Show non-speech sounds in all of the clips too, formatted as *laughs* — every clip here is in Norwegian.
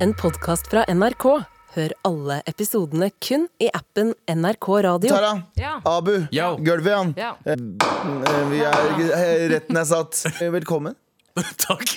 en podkast fra NRK. Hør alle episodene kun i appen NRK Radio. Tara, Ja. Abu, Yo. gulvet igjen. Ja. Eh, Vi er, retten er satt. Eh, Velkommen. *laughs* Takk.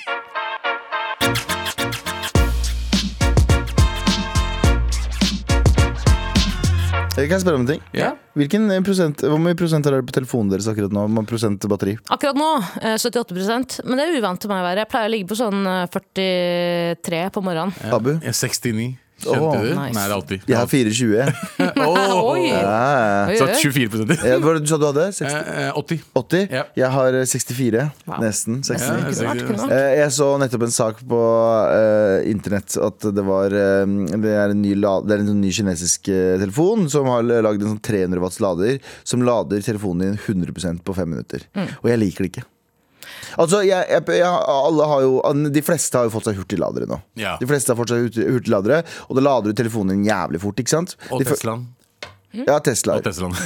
Jeg Eh, kan spørre om en ting. Ja. Hvilken eh, prosent, Hvor mye prosent er det på telefonen deres akkurat nå? Hvor mange Prosent batteri? Akkurat nå eh, 78 men det er uvant til meg å være. Jeg pleier å ligge på sånn eh, 43 på morgenen. Abu? Jeg er 69. Skjønte Åh, du? nice. Nei, det er 80. Jeg har 24. jeg. *laughs* Åh. *laughs* Oi. Ja, ja, ja. Oi, Så oi. 24 prosent. Eh, Hva var det du sa du hadde? 60, *laughs* Eh, eh, 80. 80? Ja. Jeg har eh, 64. Wow. Nesten. 69. Ja, Kunne vært, kunne vært. Eh, Jeg så nettopp en sak på eh, internett at det var eh, Det er en ny, la- det er en sånn ny kinesisk eh, telefon som har lagd en sånn 300 watts lader som lader telefonen din 100 på fem minutter. Og jeg liker det ikke. Altså, jeg, jeg, jeg, alle har jo, De fleste har jo fått seg hurtigladere nå. Ja. De fleste har fått seg hurtig- hurtigladere, og da lader du telefonen din jævlig fort. ikke sant? Og de, fø- Teslaen. Ja, Tesla. Og Teslaen.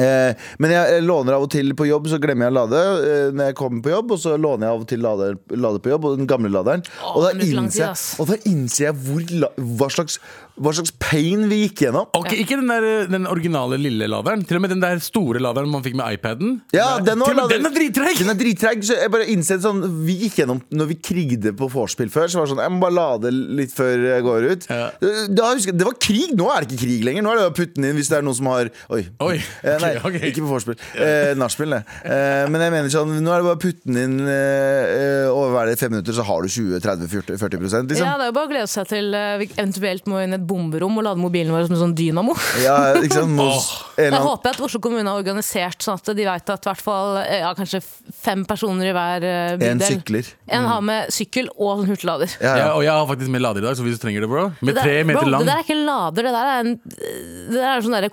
Eh, men jeg jeg låner av og til på jobb, så glemmer jeg å lade. Eh, når jeg kommer på jobb, og så låner jeg av og til lader, lader på jobb, og den gamle laderen. og, da det brukte lang tid, innser, ass. jeg- og da innser jeg hvor, la- hva, slags, hva slags pain vi gikk gjennom. Ok, Ikke den, der, eh, den originale lille laderen. Til og med den der store laderen man fikk med iPaden. Ja, Nei, den var til og med lader- den er drittreg! Den er drittreg, så jeg bare innser sånn Vi gikk gjennom når vi krigde på vorspiel før. Så var det sånn, jeg må bare lade litt før jeg går ut. Ja. Da husker, jeg- det var krig! Nå er det ikke krig lenger. Nå er det å putte den inn hvis det er noen som har Oi. Oi, Eh, nei, ok, ok. ikke på vorspiel. Eh, Nachspiel, det. Eh, men jeg mener sånn, nå er det bare å putte den inn eh, eh, og hva er det, fem minutter, så har du 20-30-40 prosent, liksom. Ja, det er jo bare å glede seg til eh, vi eventuelt må inn i et bomberom og lade mobilen vår som en sånn dynamo. Ja, ikke sant? Mos, *laughs* en eller Jeg annen, håper at Oslo kommune har organisert sånn at de vet at i hvert fall eh, ja, kanskje fem personer i hver eh, en bydel. sykler. En har med sykkel og sånn hurtiglader. Ja, Mm. Ja, ja. og jeg har faktisk med lader i dag, så hvis du trenger det, bro. Med Det der- tre meter bro, lang. Det der er ikke en lader, det der er en Det der er sånn derre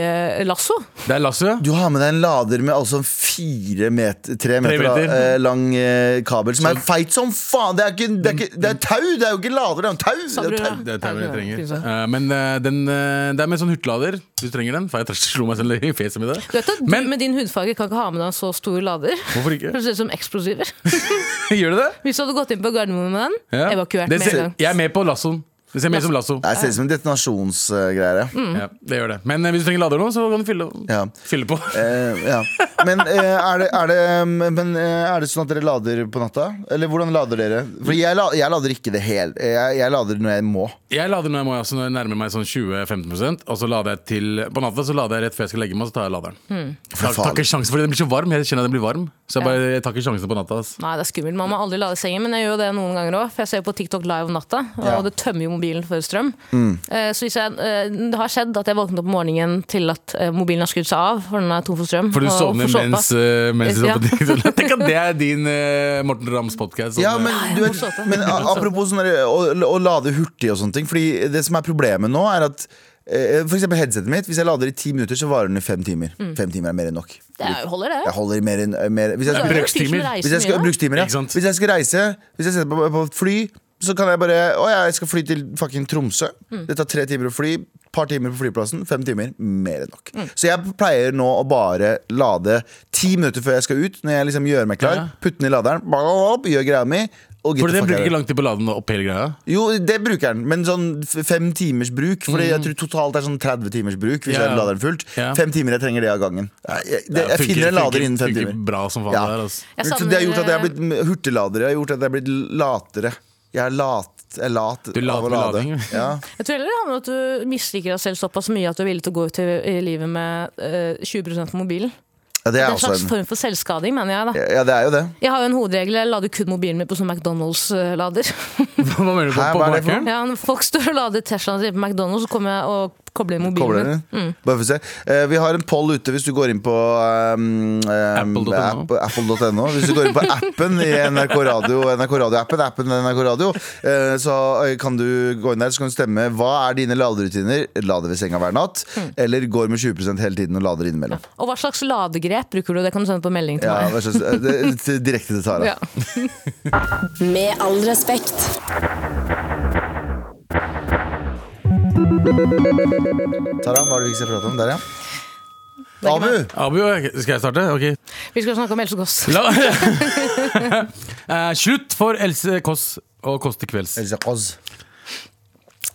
cowboylasso. Det er Lasse. Du har med deg en lader med altså en fire meter, tre meter, da, meter. eh, lang eh, kabel som er feit som faen! Det er, ikke, det, er ikke, det er tau! Det er jo ikke lader, det er en tau! Det er tau. Det er tauer jeg trenger. Kunne sagt. Eh, men eh, den, eh, det er med sånn hurtiglader. Hvis du trenger den. Faen, jeg slo meg selv i fjeset med det. Du vet at du Men- med din hudfarge kan ikke ha med deg en så stor lader. *laughs* Hvorfor ikke? *laughs* For det ser ut som eksplosiver. Gjør du det? Hvis du hadde gått inn på Gardermoen med den, Ja. evakuert Det med ser- en gang. Jeg er med på lassoen. Det ser mer ut som lasso. Nei, Det ser ut som en detonasjonsgreie. Mm. Ja, det gjør det. Men eh, hvis du trenger lader nå, så kan du fylle, Ja. fylle på. *laughs* Eh, ja. Men, eh, er det, er det, men eh, er det sånn at dere lader på natta? Eller hvordan lader dere? For jeg, la, jeg lader ikke det helt. Jeg, jeg lader når jeg må. Jeg lader når jeg må, altså når jeg nærmer meg sånn 20-15 Og så lader jeg til På natta så lader jeg rett før jeg skal legge meg, så tar jeg laderen. Mm. For Ta, faen. tar ikke sjansen, fordi den blir så varm. Jeg kjenner at den blir varm. Så jeg, bare, jeg tar ikke sjansen på natta. ass. Nei, det er skummelt. Man må aldri lade i sengen, men jeg gjør jo det noen ganger òg. For jeg ser jo på TikTok live om natta, og Ja. det tømmer jo mobilen for strøm. Mm. Eh, Så hvis jeg, eh, det har skjedd at jeg våknet opp om morgenen til at eh, mobilen har skrudd seg av, for den er tom for strøm. For du og sovner for såpa. mens, eh, mens du Ja. står på *laughs* TikTok. *laughs* Tenk at det er din eh, Morten Rams eh, podkast. sånn, Ja, men, du vet, men a- apropos sånn der, å, å lade hurtig og sånne ting Fordi det som er problemet nå er at eh, For eksempel headsetet mitt Hvis jeg lader i ti minutter så varer den i fem timer Fem timer er mer enn nok Mm. Det er jo- holder, det. Jeg holder i mer enn mer, hvis, jeg skal, Du er jo en fyr som brukstimer. reiser hvis jeg mye, skal da. brukstimer, ja Ikke sant? Hvis jeg skal reise Hvis jeg setter på, på et fly Så kan jeg bare Å ja, jeg skal fly til fucking Tromsø Mm. Det tar tre timer å fly Par timer på flyplassen Fem timer Mer enn nok Mm. Så jeg pleier nå å bare lade Ti minutter før jeg skal ut Når jeg liksom gjør meg klar Ja. Putte den i laderen blablabla, Gjør greia mi og get For the den fuck out of bruker here. ikke lang tid på å lade den opp hele greia. Jo, det bruker den, men sånn f- fem timers bruk. For jeg tror totalt er sånn 30 timers bruk hvis Mm. Ja. jeg lader den fullt. Ja. Fem timer, jeg trenger det av gangen. Jeg, jeg, det, jeg Funker- finner en funker- lader innen fem funker timer. Bra som faen Ja. det der, altså. ass. Jeg Så savner- eh, det har gjort at jeg har blitt m- hurtigladere. Jeg har gjort at jeg har blitt latere. Jeg er lat, jeg er lat Du er lat av å med lade. lading. Ja. Jeg tror heller det handler om at du misliker deg selv såpass mye at du er villig til å gå ut i, i livet med eh, 20 på mobilen. ja, det Det er er en også altså- slags en form for selvskading, mener jeg. da Ja, det er jo det. Jeg har jo en hovedregel. Jeg lader kun mobilen min på sånn *laughs* McDonald's-lader. *laughs* Hva mener du på, Hæ, på hva er det for Mac-en? ja, når folk står og lader Teslaen sin på McDonald's, så kommer jeg og kobler inn mobilen Kobler min. den. Bare for å se. Eh, vi har en poll ute hvis du går inn på um, Apple.no. apple.no. Hvis du går inn på appen i NRK Radio, NRK Radio-appen, appen NRK Radio, eh, så eh, kan du gå inn der Så kan du stemme hva er dine laderutiner. Lader ved senga hver natt, Mm. eller går med 20 hele tiden og lader innimellom. Og hva slags ladegrep bruker du? Det kan du sende på melding til Ja, meg. vær så snill. Det er litt Direkte til Tara. Ja. Med all respekt. Tara, hva er det vi ikke skal prate om? Der, ja. Abu! Abu, skal jeg starte? Ok Vi skal snakke om Else Kåss. La *laughs* Eh, slutt for Else Kåss og Kåss til kvelds. Elsa Kåss.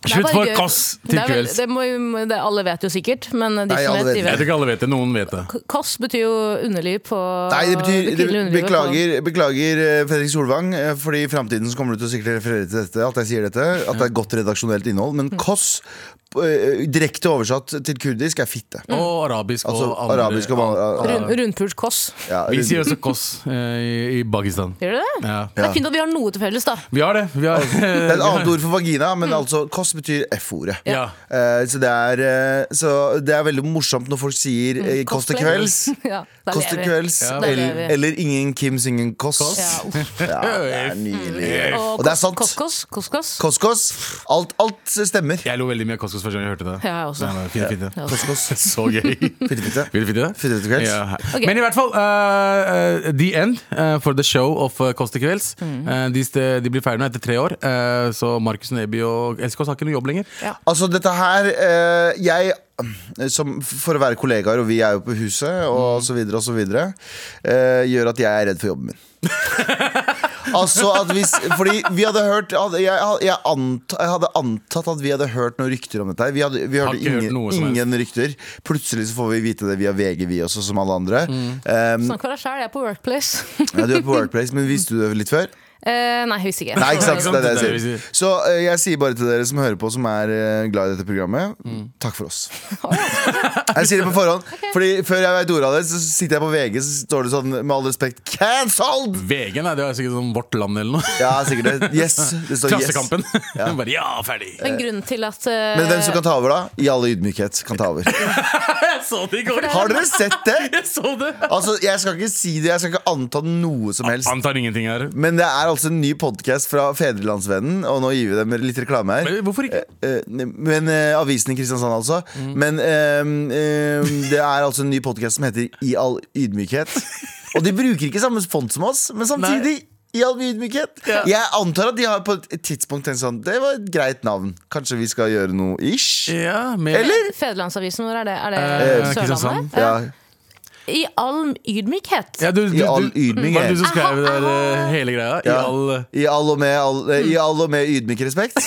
Det er Slutt bare for gøy. koss til Det er vel- kvelds. Det må, jo- det, alle vet jo sikkert, men de Nei, som alle vet, vet de Jeg vet. tror ikke alle vet det. Noen vet det. Koss betyr jo underliv på Nei, det betyr det, kvinnelige underlivet på- Beklager, beklager eh, Fredrik Solvang, eh, fordi i framtiden så kommer du til å sikkert referere til dette, at jeg sier dette, at det er godt redaksjonelt innhold, men koss, eh, direkte oversatt til kurdisk, er fitte. Mm. Og arabisk og Altså andre- arabisk og vanlig. Rund, Rundpult koss. Ja, Vi sier rund- også koss eh, i, i Pakistan. Gjør du det? Ja. Det er fint at vi har noe til felles, da. Vi har det. Vi har, det er et annet ord for vagina, men altså koss betyr F-ordet. *laughs* ja. Eh, så, det er, eh, så det er veldig morsomt når folk sier eh, koss til cosplay. kvelds. *laughs* ja, der Koss til lever vi. kvelds, Ja. Der eller, lever vi. eller ingen Kims, ingen koss. Ja, uff. Ja, det er nydelig. Og, Og det er sant. Koss-koss. Koss-koss. Koss-koss. Alt, alt stemmer. Jeg lo veldig mye av Koskos første gang jeg hørte det. Ja, jeg også. Det var fint, fint, det. Ja. *laughs* Koss-koss. Så gøy. Fitte-fitte. Vil du finne det? Finne det til kvelds? Ja. Ok. Men i hvert fall, eh, eh, the end eh, for the show of uh, Kåss til kvelds. Mm. Eh, de, st- de blir ferdig nå etter tre år, eh, så Markus Neby og Elskås har ikke noe jobb lenger. Altså, dette her eh, Jeg, som for å være kollegaer, og vi er jo på huset, og Mm. så videre og så videre, eh, gjør at jeg er redd for *laughs* jobben min. altså at hvis Fordi vi hadde hørt hadde- Jeg, jeg, ant, jeg hadde antatt at vi hadde hørt noen rykter om dette. her. Vi, hadde, vi Har hørte ikke hørt ingen, noe som helst. ingen rykter. Plutselig så får vi vite det via VG, vi også, som alle andre. Mm. Um, Sånn. Snakk for deg sjøl, jeg er på Workplace. ja, du er på Workplace, men visste du det litt før? *laughs* Eh, nei, jeg visste ikke. Nei, ikke sant? Det er det jeg Det er det vi sier. sier. Så eh, jeg sier bare til dere som hører på, som er eh, glad i dette programmet, Mm. takk for *laughs* oss. Jeg sier det på forhånd, Fordi før jeg vet ordet av det, så sitter jeg på VG, så står det sånn med all respekt Cancelled! VG, nei, det er sikkert sånn Vårt Land *laughs* eller noe. Ja, sikkert det. Yes. Det står yes. Klassekampen. *laughs* Bare ja, ferdig! Men grunnen til at eh, Men hvem som kan ta over, da? I all ydmykhet kan ta over. Jeg så det i går! Har dere sett det? Jeg så det! Altså, Jeg skal ikke si det, jeg skal ikke anta noe som helst. Antar ingenting her. Men det er altså en ny podkast fra Fedrelandsvennen, og nå gir vi dem litt reklame her. Men Hvorfor ikke? Eh, Men eh, Avisen i Kristiansand, altså. Mm. Men eh, eh, det er altså en ny podkast som heter I all ydmykhet. Og de bruker ikke samme font som oss, men samtidig i all ydmykhet. Jeg antar at de har på et tidspunkt tenkt sånn Det var et greit navn. Kanskje vi skal gjøre noe ish? Ja, med Eh. Eller? Fedrelandsavisen, hvor er det? Er det Eh, Kristiansand. Sørlandet? Ja, I all ydmykhet. Ja, du, du, I all du- ydmykhet. Var det du som skrev det der, eh, hele greia? I Ja. all I all og med, all, eh, i all og med ydmyk *laughs* respekt.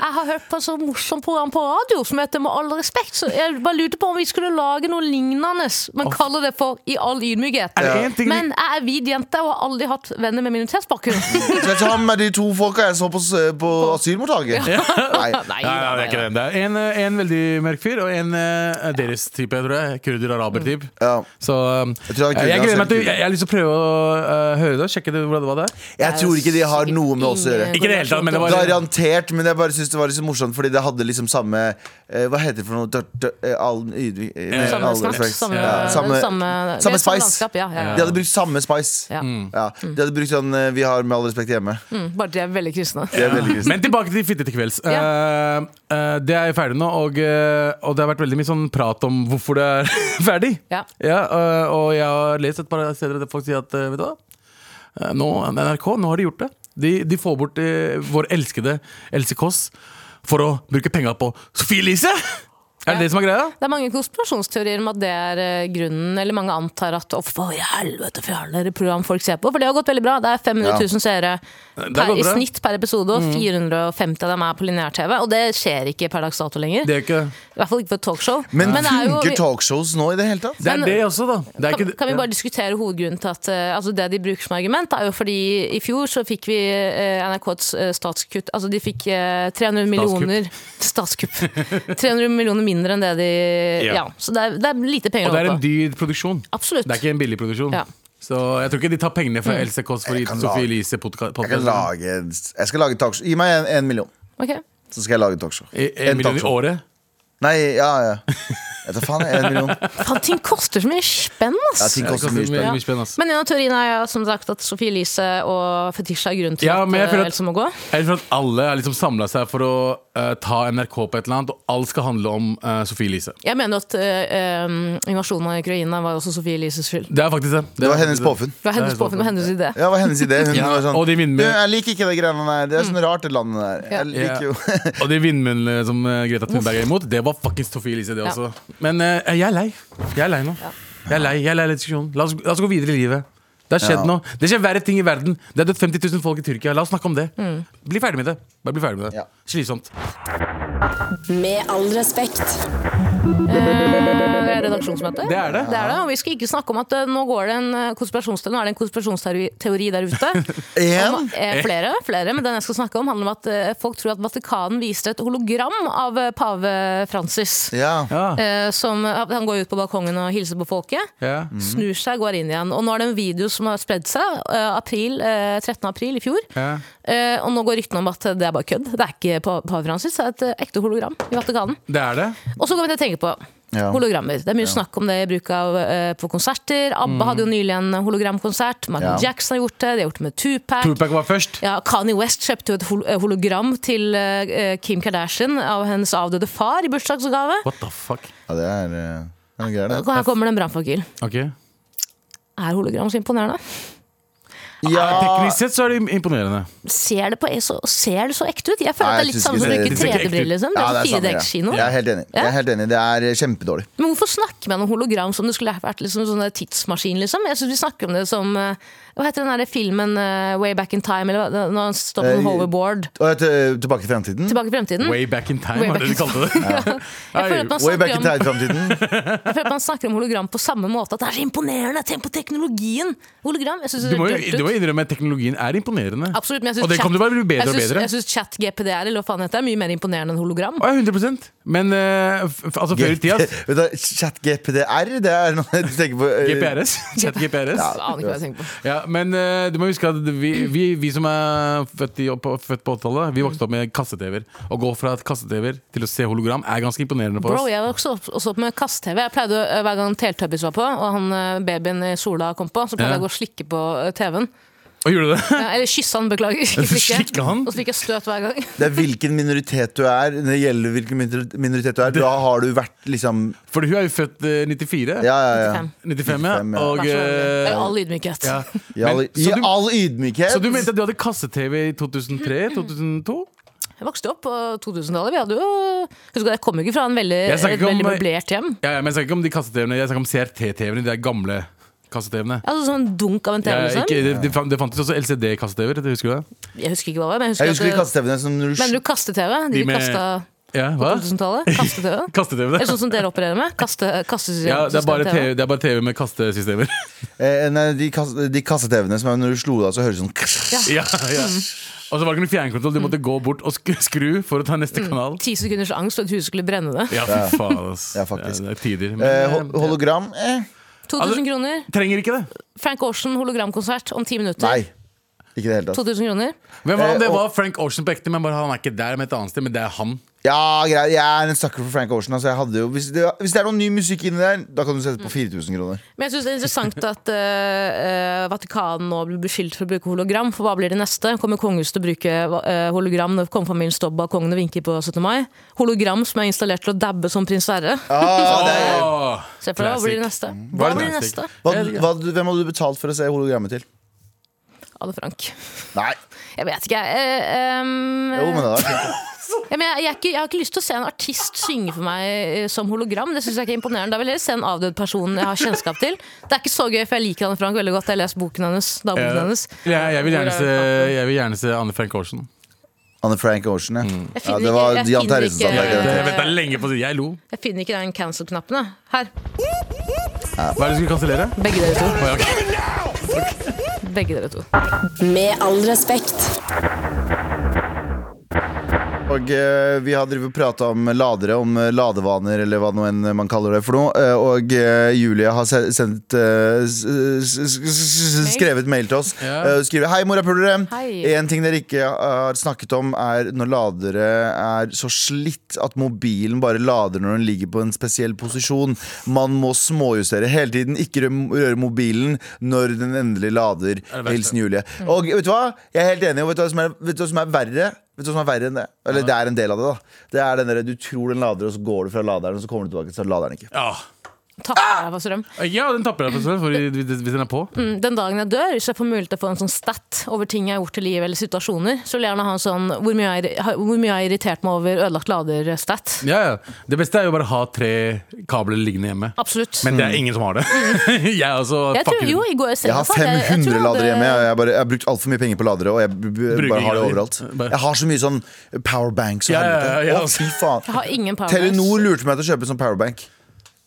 Jeg har hørt på et så morsomt program på radio som heter Med all respekt. Så jeg bare lurte på om vi skulle lage noe lignende. Man kaller det for I all ydmykhet. Er det en ting vi- Men jeg er hvit jente og har aldri hatt venner med *laughs* minoritetsbakgrunn. Skal ikke ha med de to folka jeg så på, s- på asylmottaket. Nei. Nei, Nei, nei, det er ikke det. Det er en, eh, en veldig mørk fyr, og en eh, deres type, jeg tror jeg. Kurder-araber-type. Ja. Så um, Jeg tror han eh, kunne ha jeg gleder meg til sendt jeg, jeg har lyst til å prøve å eh, høre det og sjekke det, hvordan det var der. Jeg tror ikke de har noe med oss å gjøre. Ikke det hele tatt, men det var liksom- Garantert, men jeg bare syns det var litt så morsomt, fordi det hadde liksom samme eh, Hva heter det for noe dør, dør, eh, all, ydmyk, eh, nei, Samme all smak, respekt. samme, Ja, samme, samme- samme det er samme spice. landskap, ja, ja, ja. De hadde brukt samme spice. Mm. Ja, Ja. de hadde brukt sånn eh, 'vi har med all respekt hjemme'. Mm, Bare de er veldig kristne. Det er veldig kristen. Men tilbake til Fitte til kvelds. Eh, eh, det er ferdig nå, og, eh, og det har vært veldig mye sånn prat om hvorfor det er *laughs* ferdig. Ja. eh, og jeg har lest et par steder at folk sier at eh, vet du hva, Eh, nå, NRK, nå har de gjort det. De, de får bort eh, vår elskede Else Kåss for å bruke penga på Sophie Elise! Er det det som er greia? Det er mange konspirasjonsteorier om at det er eh, grunnen, eller mange antar at å, for i helvete fjern dere program folk ser på, for det har gått veldig bra. Det er 500 000 seere Det per, går i bra. snitt per episode, Mm. og 450 av dem er på lineær-TV, og det skjer ikke per dags dato lenger. Det er ikke I hvert fall ikke på et talkshow. Men, det er jo- funker vi- talkshows nå i det hele tatt? Det er Men- det også, da. Det er kan, ikke, kan vi bare diskutere hovedgrunnen til at eh, altså det de bruker som argument, er jo fordi i fjor så fikk vi eh, NRKs eh, statskutt Altså de fikk eh, 300 millioner *laughs* Statskupp. 300 millioner mindre enn det de Ja. Ja. så det er, det er lite penger Og det er å en holde på. dyr produksjon. Absolutt. Det er ikke en billig produksjon. Ja. Mm. Så jeg tror ikke de tar pengene fra Else Kåss for å gi Jeg kan Sophie lage- Elise podka- Jeg, kan podkasten. lage, jeg skal lage talkshow. Gi meg en, en million, Ok. så skal jeg lage talkshow. E- En million i året. Nei, ja, ja. Jeg tar faen, en *laughs* million. Ja, Faen, ting koster så mye spenn, ass! ting Ja, det koster mye spenn. mye spenn, ass. Men en av teoriene er ja, som sagt at Sophie Elise og Fetisha er grunnen til Ja, at, men jeg eh, føler at- Else må gå. Jeg tror at alle har liksom samla seg for å eh, ta NRK på et eller annet, og alt skal handle om eh, Sophie Elise. Jeg mener at eh, um, invasjonen av Ukraina var også Sophie Elises skyld. Det er faktisk det. Det var hennes påfunn. Det var hennes Det er påfunn og hennes idé. Ja, det var hennes idé. Hun Ja, var sånn, og de vinner med- «Du, Jeg liker ikke det greiene der. Det er sånn rart, det landet der. Jeg Mm. Ja. liker jo *laughs* Og de vindmøllene som eh, Greta Thunberg er imot, det var fuckings Sophie Elise, det Ja. også. Men eh, jeg er lei. Jeg er lei nå. Jeg er lei jeg er lei av diskusjonen. La, oss- la oss gå videre i livet. Det har skjedd Ja. nå. Det skjer verre ting i verden. Det er dødd 50 000 folk i Tyrkia. La oss snakke om det. Bli ferdig med det. Bare bli ferdig med det. Ja. Slitsomt. Med all respekt. Det er redaksjonsmøte. Det er det. Det er det, og vi skal ikke snakke om at eh, nå går det en eh, konspirasjonsteori, nå er det en konspirasjonsteori der *laughs* ute. Om, Én? eh, flere, flere, men den jeg skal snakke om handler om at eh, folk tror at Vatikanen viste et hologram av eh, pave Francis. Ja. Ja. Eh, Som, han går ut på balkongen og hilser på folket. Ja. Mhm. Snur seg, går inn igjen. Og nå er det en video som har spredd seg. eh, April, eh, 13. april i fjor. Ja. Eh, Og nå går ryktene om at det er bare kødd. Det er ikke pa- pave Francis, det er et eh, ekte hologram i Vatikanen. Det er det. Og så kommer jeg til å tenke på Ja. Mm. hologrammer. Det er mye snakk om det i bruk av eh, på konserter. ABBA hadde jo nylig en hologramkonsert. Michael Ja. Jackson har gjort det. De har gjort det med Tupac. Tupac var først. Ja, Kanye West kjøpte jo et hol- eh, hologram til eh, Kim Kardashian av hennes avdøde far i bursdagsgave. What the fuck? ja, det er, eh, det er noe greier, det. Her kommer det en brannfakkel. Ok Er hologram så imponerende? Ja, Teknisk sett så er det im- imponerende. Ser det, på, e- så, ser det så ekte ut? Jeg føler Nei, at det er litt jeg synes samme som å ikke det- bruke det ser ikke ekte ut. 3D-briller. Liksom. Det Ja, er samme sånn greia. 4DX-kino. Jeg er helt enig. Jeg er helt enig. Det er eh, kjempedårlig. Men hvorfor snakker man om hologram som det skulle vært liksom, sånn der tidsmaskin? Liksom? Jeg synes Vi snakker om det som eh, Hva heter den der filmen eh, Way Back in Time? Eller hva- når han står på en Eh, hoverboard Og jeg til- tilbake til fremtiden. tilbake i fremtiden? Mm. Way back in time, Way var back det in de kalte det. Jeg føler, at man Way back in snakker om, jeg time-fremtiden. føler at man snakker om hologram på samme måte. At det er så imponerende! Tenk på teknologien! Hologram. Jeg synes *laughs* Du det må, er jo, du dølt ut. må innrømme at teknologien er imponerende. Absolutt, men jeg synes Og det chat- kommer til å bare bli bedre jeg og synes- bedre. Jeg syns chat-GPD er, eller hva faen heter det, er mye mer imponerende enn hologram. Å, ja, 100 Men eh, f f- altså, *laughs* før i *laughs* tida ass, Vet du, Chat-GPDR, det er noe du tenker på eh, GPRS. *laughs* Chat GPRS. Jeg aner ikke hva jeg tenker på. Ja, men eh, du må huske at vi, vi, vi som er født, i, på, født på 80-tallet, Mm. vi vokste opp med kasse-TV-er. Å gå fra et kasse-TV-er til å se hologram er ganske imponerende for Bro, oss. jeg var også, også opp med kast-TV. Jeg pleide å, eh, Hver gang Teletubbies var på, og han eh, babyen i Sola kom på, så pleide Ja. jeg å gå og slikke på eh, TV-en. Og gjorde du det? *laughs* Ja, Eller kysse han, beklager. Ikke slikke. Slikke han? Og så fikk jeg støt hver gang. Det er hvilken minoritet du er. Det gjelder hvilken minor- minoritet du er. Da har du vært liksom For hun er jo født eh, 94. Ja, ja, ja. 95. 95, ja. 95, ja. Og, Vær så snill. eh, Med all ydmykhet. ja. I all, Men, i så, du, all så ydmykhet. du mente at du hadde kasse-TV i 2003-2002? Jeg vokste opp på 2000-tallet. Vi hadde jo Husk at jeg kom jo ikke fra en veldig, Jeg et snakker ikke om- eh, veldig møblert hjem. Ja, ja, men jeg snakker ikke om de kasse-TV-ene, jeg snakker om CRT-TV-ene, de der gamle kasse-TV-ene. Altså sånn dunk av en TV, Ja, liksom. ikke- det, det fan- det fantes også LCD-kasse-TV-er, husker du det? Jeg husker ikke hva det var. Men jeg husker, Jeg husker de at, kaste-TV-ene som når men du du kaste-TV? De, De med- kasta Ja, hva? 2000-tallet? Kaste-TV? *laughs* Kaste-TV-det. Eller sånn som dere opererer med? Kaste, kastesystem? Ja, det er bare TV. TV, det er bare TV med kastesystemer. eh, Nei, de kaste- de kaste-TV-ene som er når du slo deg, så høres det sånn *laughs* ja, ja. Og så var det ikke noen fjernkontroll, du måtte gå bort og sk- skru for å ta neste kanal. Ti sekunders angst for at huset skulle brenne det. Ja, fy faen, ass. Ja, faktisk. det er tider. Men, eh, eh, hol- Hologram? Eh. 2000 kroner. Trenger ikke det. Frank Aarsen hologramkonsert om ti minutter. Nei. Ikke i det hele tatt. 2000 kroner. Hvem var Eh, han? Det og- var Frank Ocean på ekte, men bare han er ikke der, men et annet sted. Men det er han. Ja, greit, Jeg er en sucker for Frank Ocean. Altså, jeg hadde jo, hvis, det, hvis det er noe ny musikk inni der, da kan du sette på 4000 *laughs* kroner. Men jeg synes det er interessant at uh, Vatikanen nå blir beskyldt for å bruke hologram. For hva blir det neste? Kommer kongehuset til å bruke eh, hologram når kongefamilien står på balkongen og vinker på 17. mai? Hologram som er installert til å dabbe som prins Sverre. Ah, det er, Åh, Se for deg, hva blir det classic. neste? Hva Hva er blir det det neste? hva, hva, hvem hadde du betalt for å se hologrammet til? Anne Frank. Nei. Jeg vet ikke, jeg. Eh, ehm, Jo, men det var fint. ja, men jeg, jeg, er ikke- jeg har ikke lyst til å se en artist synge for meg eh, som hologram. Det synes jeg ikke er imponerende. Da vil jeg heller se en avdød person jeg har kjennskap til. Det er ikke så gøy, for jeg liker Anne Frank veldig godt. Jeg har lest boken hennes. dagboken Ja. hennes. Ja, jeg, vil gjerne Hvor er se, Frank? jeg vil gjerne se Anne Frank Ocean. Anne Frank Ocean, ja. Jeg ja finner det var ikke- jeg Jan finner Terjesens ikke- anlegg. Jeg det. venta lenge på det. Jeg lo. Jeg finner ikke den cancel-knappen. jeg. Her. Hva er det du skulle kansellere? Begge dere to. Å, ja, ok. Begge dere to. Med all respekt. Og eh, vi har drevet og prata om ladere, om eh, ladevaner, eller hva nå enn man kaller det for noe. Eh, og eh, Julie har se- sendt eh, s- s- s- s- skrevet mail til oss. Ja. Eh, skriver Hei, Eh, morapulere. Hei. En ting dere ikke har snakket om, er når ladere er så slitt at mobilen bare lader når den ligger på en spesiell posisjon. Man må småjustere hele tiden. Ikke rø- røre mobilen når den endelig lader. verste. Hilsen Julie. Og vet du hva? Jeg er helt enig. Og vet du hva som er, vet du hva som er verre? Vet du hva som er verre enn det? Eller det er en del av det, da. Det er den der, Du tror den lader, og så går du fra laderen, og så kommer du tilbake, så er laderen ikke. Ja. Tapper deg for strøm. Ja, den tapper jeg for selv, for hvis hvis den er på. Mm, Den dagen jeg dør, hvis jeg får mulighet til å få en sånn stat over ting jeg har gjort i livet eller situasjoner, så vil jeg gjerne ha en sånn hvor mye jeg, har- hvor mye jeg har irritert meg over ødelagt lader-stat. Ja, ja. Det beste er jo bare å ha tre kabler liggende hjemme. Absolutt. Men det Mm. er ingen som har det. *laughs* jeg er også jeg tror, fucking- jo, i går Jeg har 500 ladere hjemme. Jeg, jeg, bare, jeg har brukt altfor mye penger på ladere. Og jeg b- b- Bruker bare har det ingen av overalt de. Bare- Jeg har så mye sånn powerbanks og Ja, ja, ja, helvete. ja. Å, fy Jeg har faen. ingen power banks. Telenor lurte meg til å kjøpe en sånn powerbank.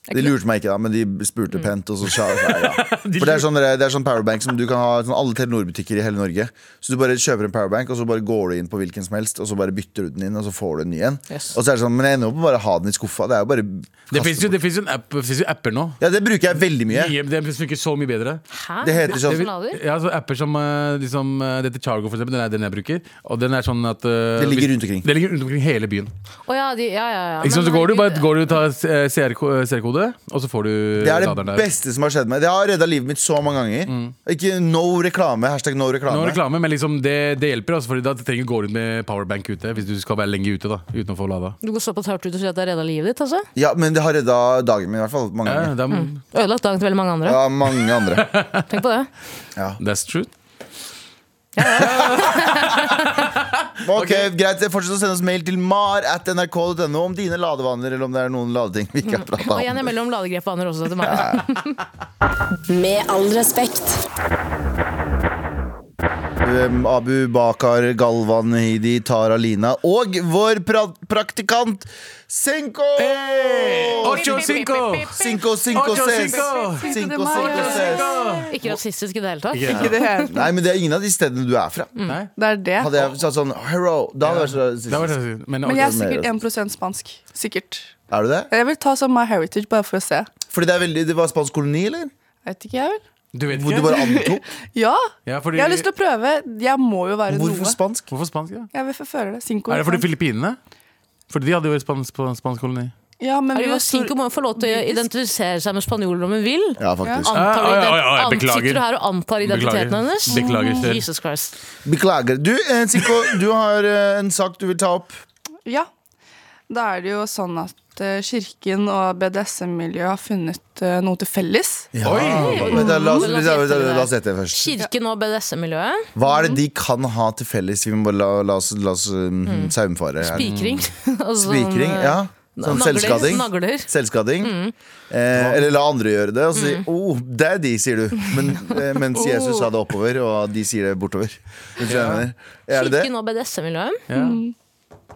Det Mm. er De kult. lurte meg ikke, da, men de spurte pent. Og så sa nei, *laughs* ja. For det er, sånn, det er sånn powerbank som du kan ha sånn, alle Telenor-butikker i hele Norge. Så du bare kjøper en powerbank, og så bare går du inn på hvilken som helst, og så bare bytter du den inn, og så får du en ny en. Yes. Og så er det sånn, Men jeg ender opp med bare å ha den i skuffa. Det er jo bare Det fins jo, det finnes jo, en app, det finnes jo apper nå. Ja, det bruker jeg veldig mye. Mye- Det funker så mye bedre. Hæ? Det heter sånn- Hvordan lader? Ja, så apper som eh, liksom, eh, Det heter Chargo, for eksempel. Den er den jeg bruker. Og den er sånn at eh, Det ligger hvis- rundt omkring. Det ligger rundt omkring hele byen. Å ja, de, ja, ja, ja. Ikke sant, Men så går du, bare, herregud, går du og tar eh, CR ko- eh, CR-kode, og så får du Det er det laderen der. beste som har skjedd meg. Det har redda livet mitt så mange ganger. Ikke no reklame. Hashtag no reklame. Nå er Mm. reklame, men liksom det, det hjelper. Altså, fordi da trenger du gå rundt med powerbank ute hvis du skal være lenge ute. da Uten å få lada. Du går såpass hardt ut og sier at det har redda livet ditt, altså? Ja, men det har redda dagen min i hvert fall. Mange Ja, ganger. det er, Mm. Ødelagt dagen til veldig mange andre. Ja, mange andre. *laughs* Tenk på det. That's true. Ok, greit, Fortsett å sende oss mail til mar at nrk.no om dine ladevaner eller om det er noen ladeting vi ikke har prata Og om. igjen jeg mellom ladegrep og andre også til meg. Med all respekt. Um, Abu Bakar, Galvan, Hidi, Tara, Lina og vår pra praktikant Senko! Ocho cinco! Cinco, cinco, Ocho ses! cinco! Cinco, de cinco, Mayo. ses! Ikke rasistisk i det hele tatt. Ikke Ikke det hele Nei, men det er ingen av de stedene du er fra. Nei, Det er det. Hadde jeg sagt sånn hero, da hadde jeg vært det sånn var det jeg skulle si. Men, Men jeg er ok. sikkert 1 spansk. Sikkert. Er du det? Jeg vil ta sånn My Heritage bare for å se. Fordi det, er veldig, det var spansk koloni, eller? Jeg vet ikke, jeg vel. du vet Hvor ikke? du bare *laughs* antok? Ja! ja, fordi, Jeg har lyst til å prøve. Jeg må jo være Hvorfor noe. spansk? Hvorfor spansk? Ja? Jeg vil forføre det. Cinco. Er det fordi sant? Filippinene? Fordi de hadde jo spansk, spansk koloni. Ja, men Er vi det jo var stor... Cinco må få lov til å identifisere seg med spanjoler om hun vil. Ja, faktisk. Antar Ah, ah, ident- ah, ah, an- Sitter beklager. du her og antar identiteten Beklager. hennes? Beklager, sir. Jesus Christ. Beklager. Du, eh, Sikko, du har eh, en sak du vil ta opp. Ja. Da er det jo sånn at eh, kirken og BDSM-miljøet har funnet eh, noe til felles. Oi! Vent, da, La oss la oss- la oss- la oss hete det først. Kirken og BDSM-miljøet. Hva er det de kan ha til felles? Vi må bare la, la oss, la oss um, saumfare. her. Spikring. *laughs* og sånn, Spikring, ja. Sånn nagler, selvskading. Nagler. Selvskading. Eh, eller la andre gjøre det, og si Mm. 'oh, daddy', sier du. Men, eh, *laughs* Oh. mens Jesus sa det oppover, og de sier det bortover. Skjønner du hva jeg mener? Er det det? Kirken og BDSM-miljøet. Ja. Mm.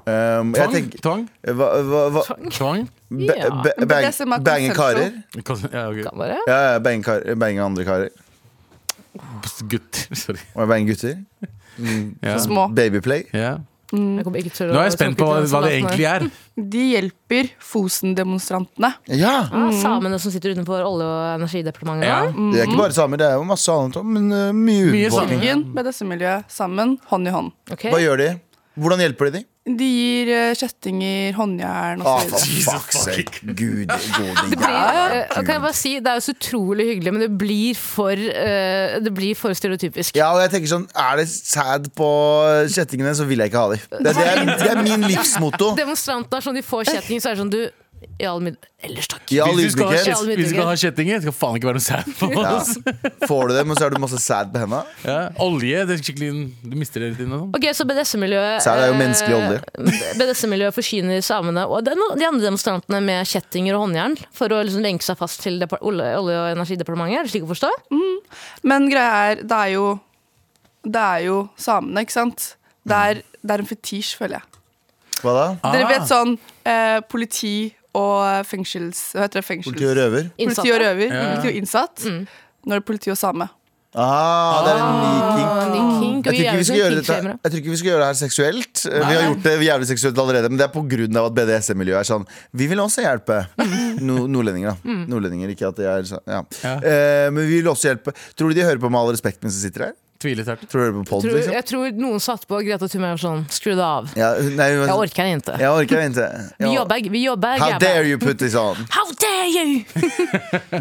Um, jeg Tvang? tenker Tvang? hva, hva, hva, Tvang? *laughs* ba, Ja. ba, Men bang, det som er Bange karer? konsensual. Ja, ok. Kan være. Ja, ja, bange kar- bange andre karer. Gutter. Sorry. Og bange gutter. Ja. Små. Babyplay. Ja. Jeg kommer ikke til å Nå er jeg spent på hva, hva det egentlig er. De hjelper Fosen-demonstrantene. Ja! Ah, samene som sitter utenfor Olje- og energidepartementet. Ja. da. Det Mm. er ikke bare samer, det er jo masse annet òg, men eh, mye Mye utfordring. Kirken, BDSM-miljøet, sammen, hånd i hånd. Ok. Hva gjør de? Hvordan hjelper de de? De gir eh, kjettinger, håndjern Ah, osv. for fuck's sake. Gud, gode Eh, kan jeg bare si, Det er jo så utrolig hyggelig, men det blir for, eh, det blir for stereotypisk. Ja, og jeg tenker sånn, Er det sad på kjettingene, så vil jeg ikke ha dem. Det, det, er, det er min livsmotto. Demonstrantene er sånn, de får kjetting, så er det sånn du i all mid Ellers takk. I all Hvis du skal ha, ydmykhet kjett- kjet- hvis du skal ha kjettinger, det skal faen ikke være noe sæd på oss. får du dem, og så har du masse sad på henda. Ja. Olje, det er skikkelig Du mister det litt inn og sånn. Ok, så BDSM-miljøet Sau er jo menneskelig olje. *laughs* eh, BDSM-miljøet forsyner samene og den, de andre demonstrantene med kjettinger og håndjern for å liksom lenke seg fast til depar- Olje- Olje- og energidepartementet. Er det slik å forstå? Men greia er, det er jo Det er jo samene, ikke sant? Det er, det er en fetisj, føler jeg. Hva da? Dere Ah. vet sånn eh, politi og fengsels... Hva heter det? Fengsels... Politi og røver? Politi og røver. Ja. Politi og innsatt. Nå er det politi og same. Ah, det er en ny kink. Ah, ny kink, og Jeg tror, ikke vi skal gjøre jævlig dette, kinkshamere. jeg tror ikke vi skal gjøre det her seksuelt. Vi har gjort det jævlig seksuelt allerede, men det er pga. at BDSM-miljøet er sånn. Vi vil også hjelpe. No, nordlendinger, da. Nordlendinger, ikke at de er sånn. Ja. Ja. Eh, men vi vil også hjelpe. Tror du de hører på Med all respekt mens de sitter her? Tviler sterkt. Tror du de hører på pod, Tror, liksom? jeg tror noen satt på Greta Thunberg og sånn Skru det av. Ja, hun- nei, hun, Jeg orker ikke. Jeg orker ikke. Vi jobber, vi jobber How grabber. dare you put this on? How dare you!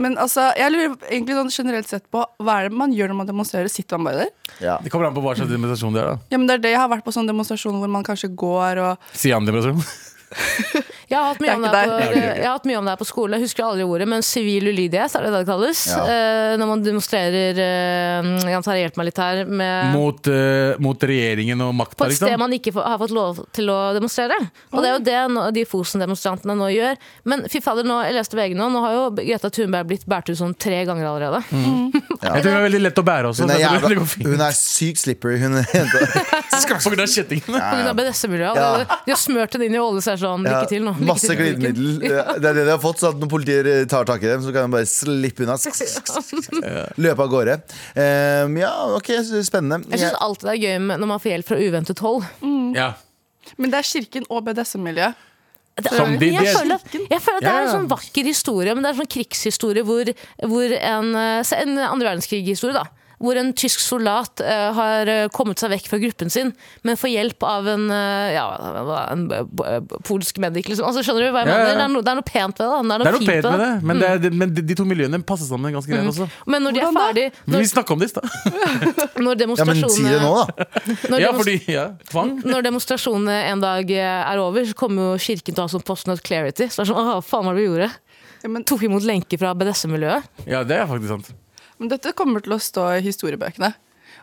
Men altså, jeg lurer egentlig sånn generelt sett på hva er det man gjør når man demonstrerer? Sitter man bare der? Ja. Det kommer an på hva slags demonstrasjon det er. da Ja, men det er det jeg har vært på sånn demonstrasjon hvor man kanskje går og Sian-demonstrasjon. Jeg har hatt mye, Det er om ikke det, her deg. på, Det er ikke deg. jeg har hatt mye om det her på skolen. Jeg husker aldri ordet, men sivil ulydighet er det det det kalles. Ja. Eh, når man demonstrerer eh, Jan Terje, hjelp meg litt her. Med, Mot, eh, mot regjeringen og på makta, liksom? et sted man ikke får- har fått lov til å demonstrere. Og det er jo det nå- de Fosen-demonstrantene nå gjør. Men fy fader, nå, jeg leste VG nå, nå har jo Greta Thunberg blitt båret ut sånn tre ganger allerede. Mm. Jeg tror hun er veldig lett å bære også. Hun er, så jeg tror det jævla, går fint. *laughs* hun er sykt slippery, hun jenta. På grunn av kjettingene. På grunn av BDS-miljøet. Ja. allerede. De har smurt henne inn i olje, så er det sånn lykke til nå. Lykke Masse til, lykke til. glidemiddel. Det er det de har fått, så at når politiet eh, tar tak i dem, så kan de bare slippe unna. Løpe av gårde. Ehm, ja, ok, spennende. Jeg syns alltid det er gøy med, når man får hjelp fra uventet hold. Ja. Men det er kirken og BDSM-miljø. Det, Som de- jeg, de- føler, jeg føler at det Ja, er en ja. sånn vakker historie, men det er en sånn krigshistorie hvor, hvor en, eh, se, en andre verdenskrig-historie, da. Hvor en tysk soldat eh, har eh, kommet seg vekk fra gruppen sin, men får hjelp av en, eh, ja, hva- en eh, bo- eh, polsk medic, liksom. Altså, skjønner du hva jeg Ja, ja, mener? ja. Det, er no, det er noe pent ved det. da. Det er noe fint pent med det, men, det er, det- men de, de to miljøene passer sammen ganske greit også. Men når de er Hvordan da? ferdig Vi når, snakka om det i stad. når Ja, men si det nå, demonstrasjonene da. når Ja, demons- fordi ja, Tvang. når demonstrasjonene en dag eh, er over, så kommer jo kirken til å ha sånn post not clarity. Så det er sånn, «Åh, faen hva var det vi gjorde? Ja, men, Tok imot lenker fra BDSM-miljøet. Ja, det er faktisk sant. men dette kommer til å stå i historiebøkene.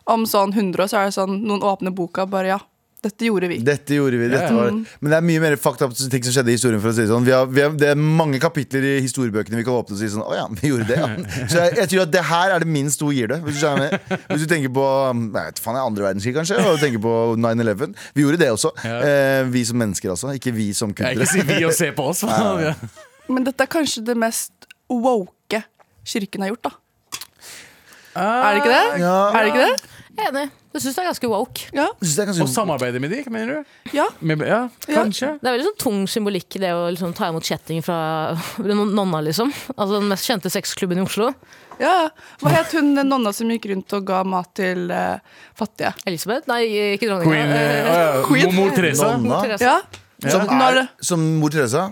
Om sånn 100 år så er det sånn noen åpner boka bare ja, dette gjorde vi. Dette gjorde vi. Dette Ja. var. Men det er mye mer fucked up ting som skjedde i historien. For å si det, sånn. vi har, vi har, det er mange kapitler i historiebøkene vi kan åpne og si sånn Å ja, vi gjorde det, *laughs* ja. Så jeg, jeg tror at det her er det minst to gir det. Hvis du, skjønner hva jeg mener. hvis du tenker på um, jeg vet, faen, andre verdenskrig, kanskje, og du tenker på 9-11. Vi gjorde det også. Ja. Eh, vi som mennesker, altså. Ikke vi som Jeg ikke kunstnere. si vi og se på oss. Ja. Men dette er kanskje det mest woke kirken har gjort, da. Er det ikke det? Ja. Er det ikke det? Jeg er enig. Du syns det er ganske woke. Ja. Jeg synes det er Ah, Og ganske- sånn- samarbeidet med de, mener du? ja. Med, ja, Ja. kanskje. Det er veldig sånn tung symbolikk i det å liksom ta imot kjetting fra *laughs* nonna, liksom. Altså den mest kjente sexklubben i Oslo. ja. Hva het hun den nonna som gikk rundt og ga mat til eh, fattige? Elisabeth? Nei, ikke dronninga. Queen, eh, å, ja. Queen. Mor- Mor Teresa. Nonna. Mor Teresa. Altså, Ja. Som, Nå er er, det- som mor Teresa.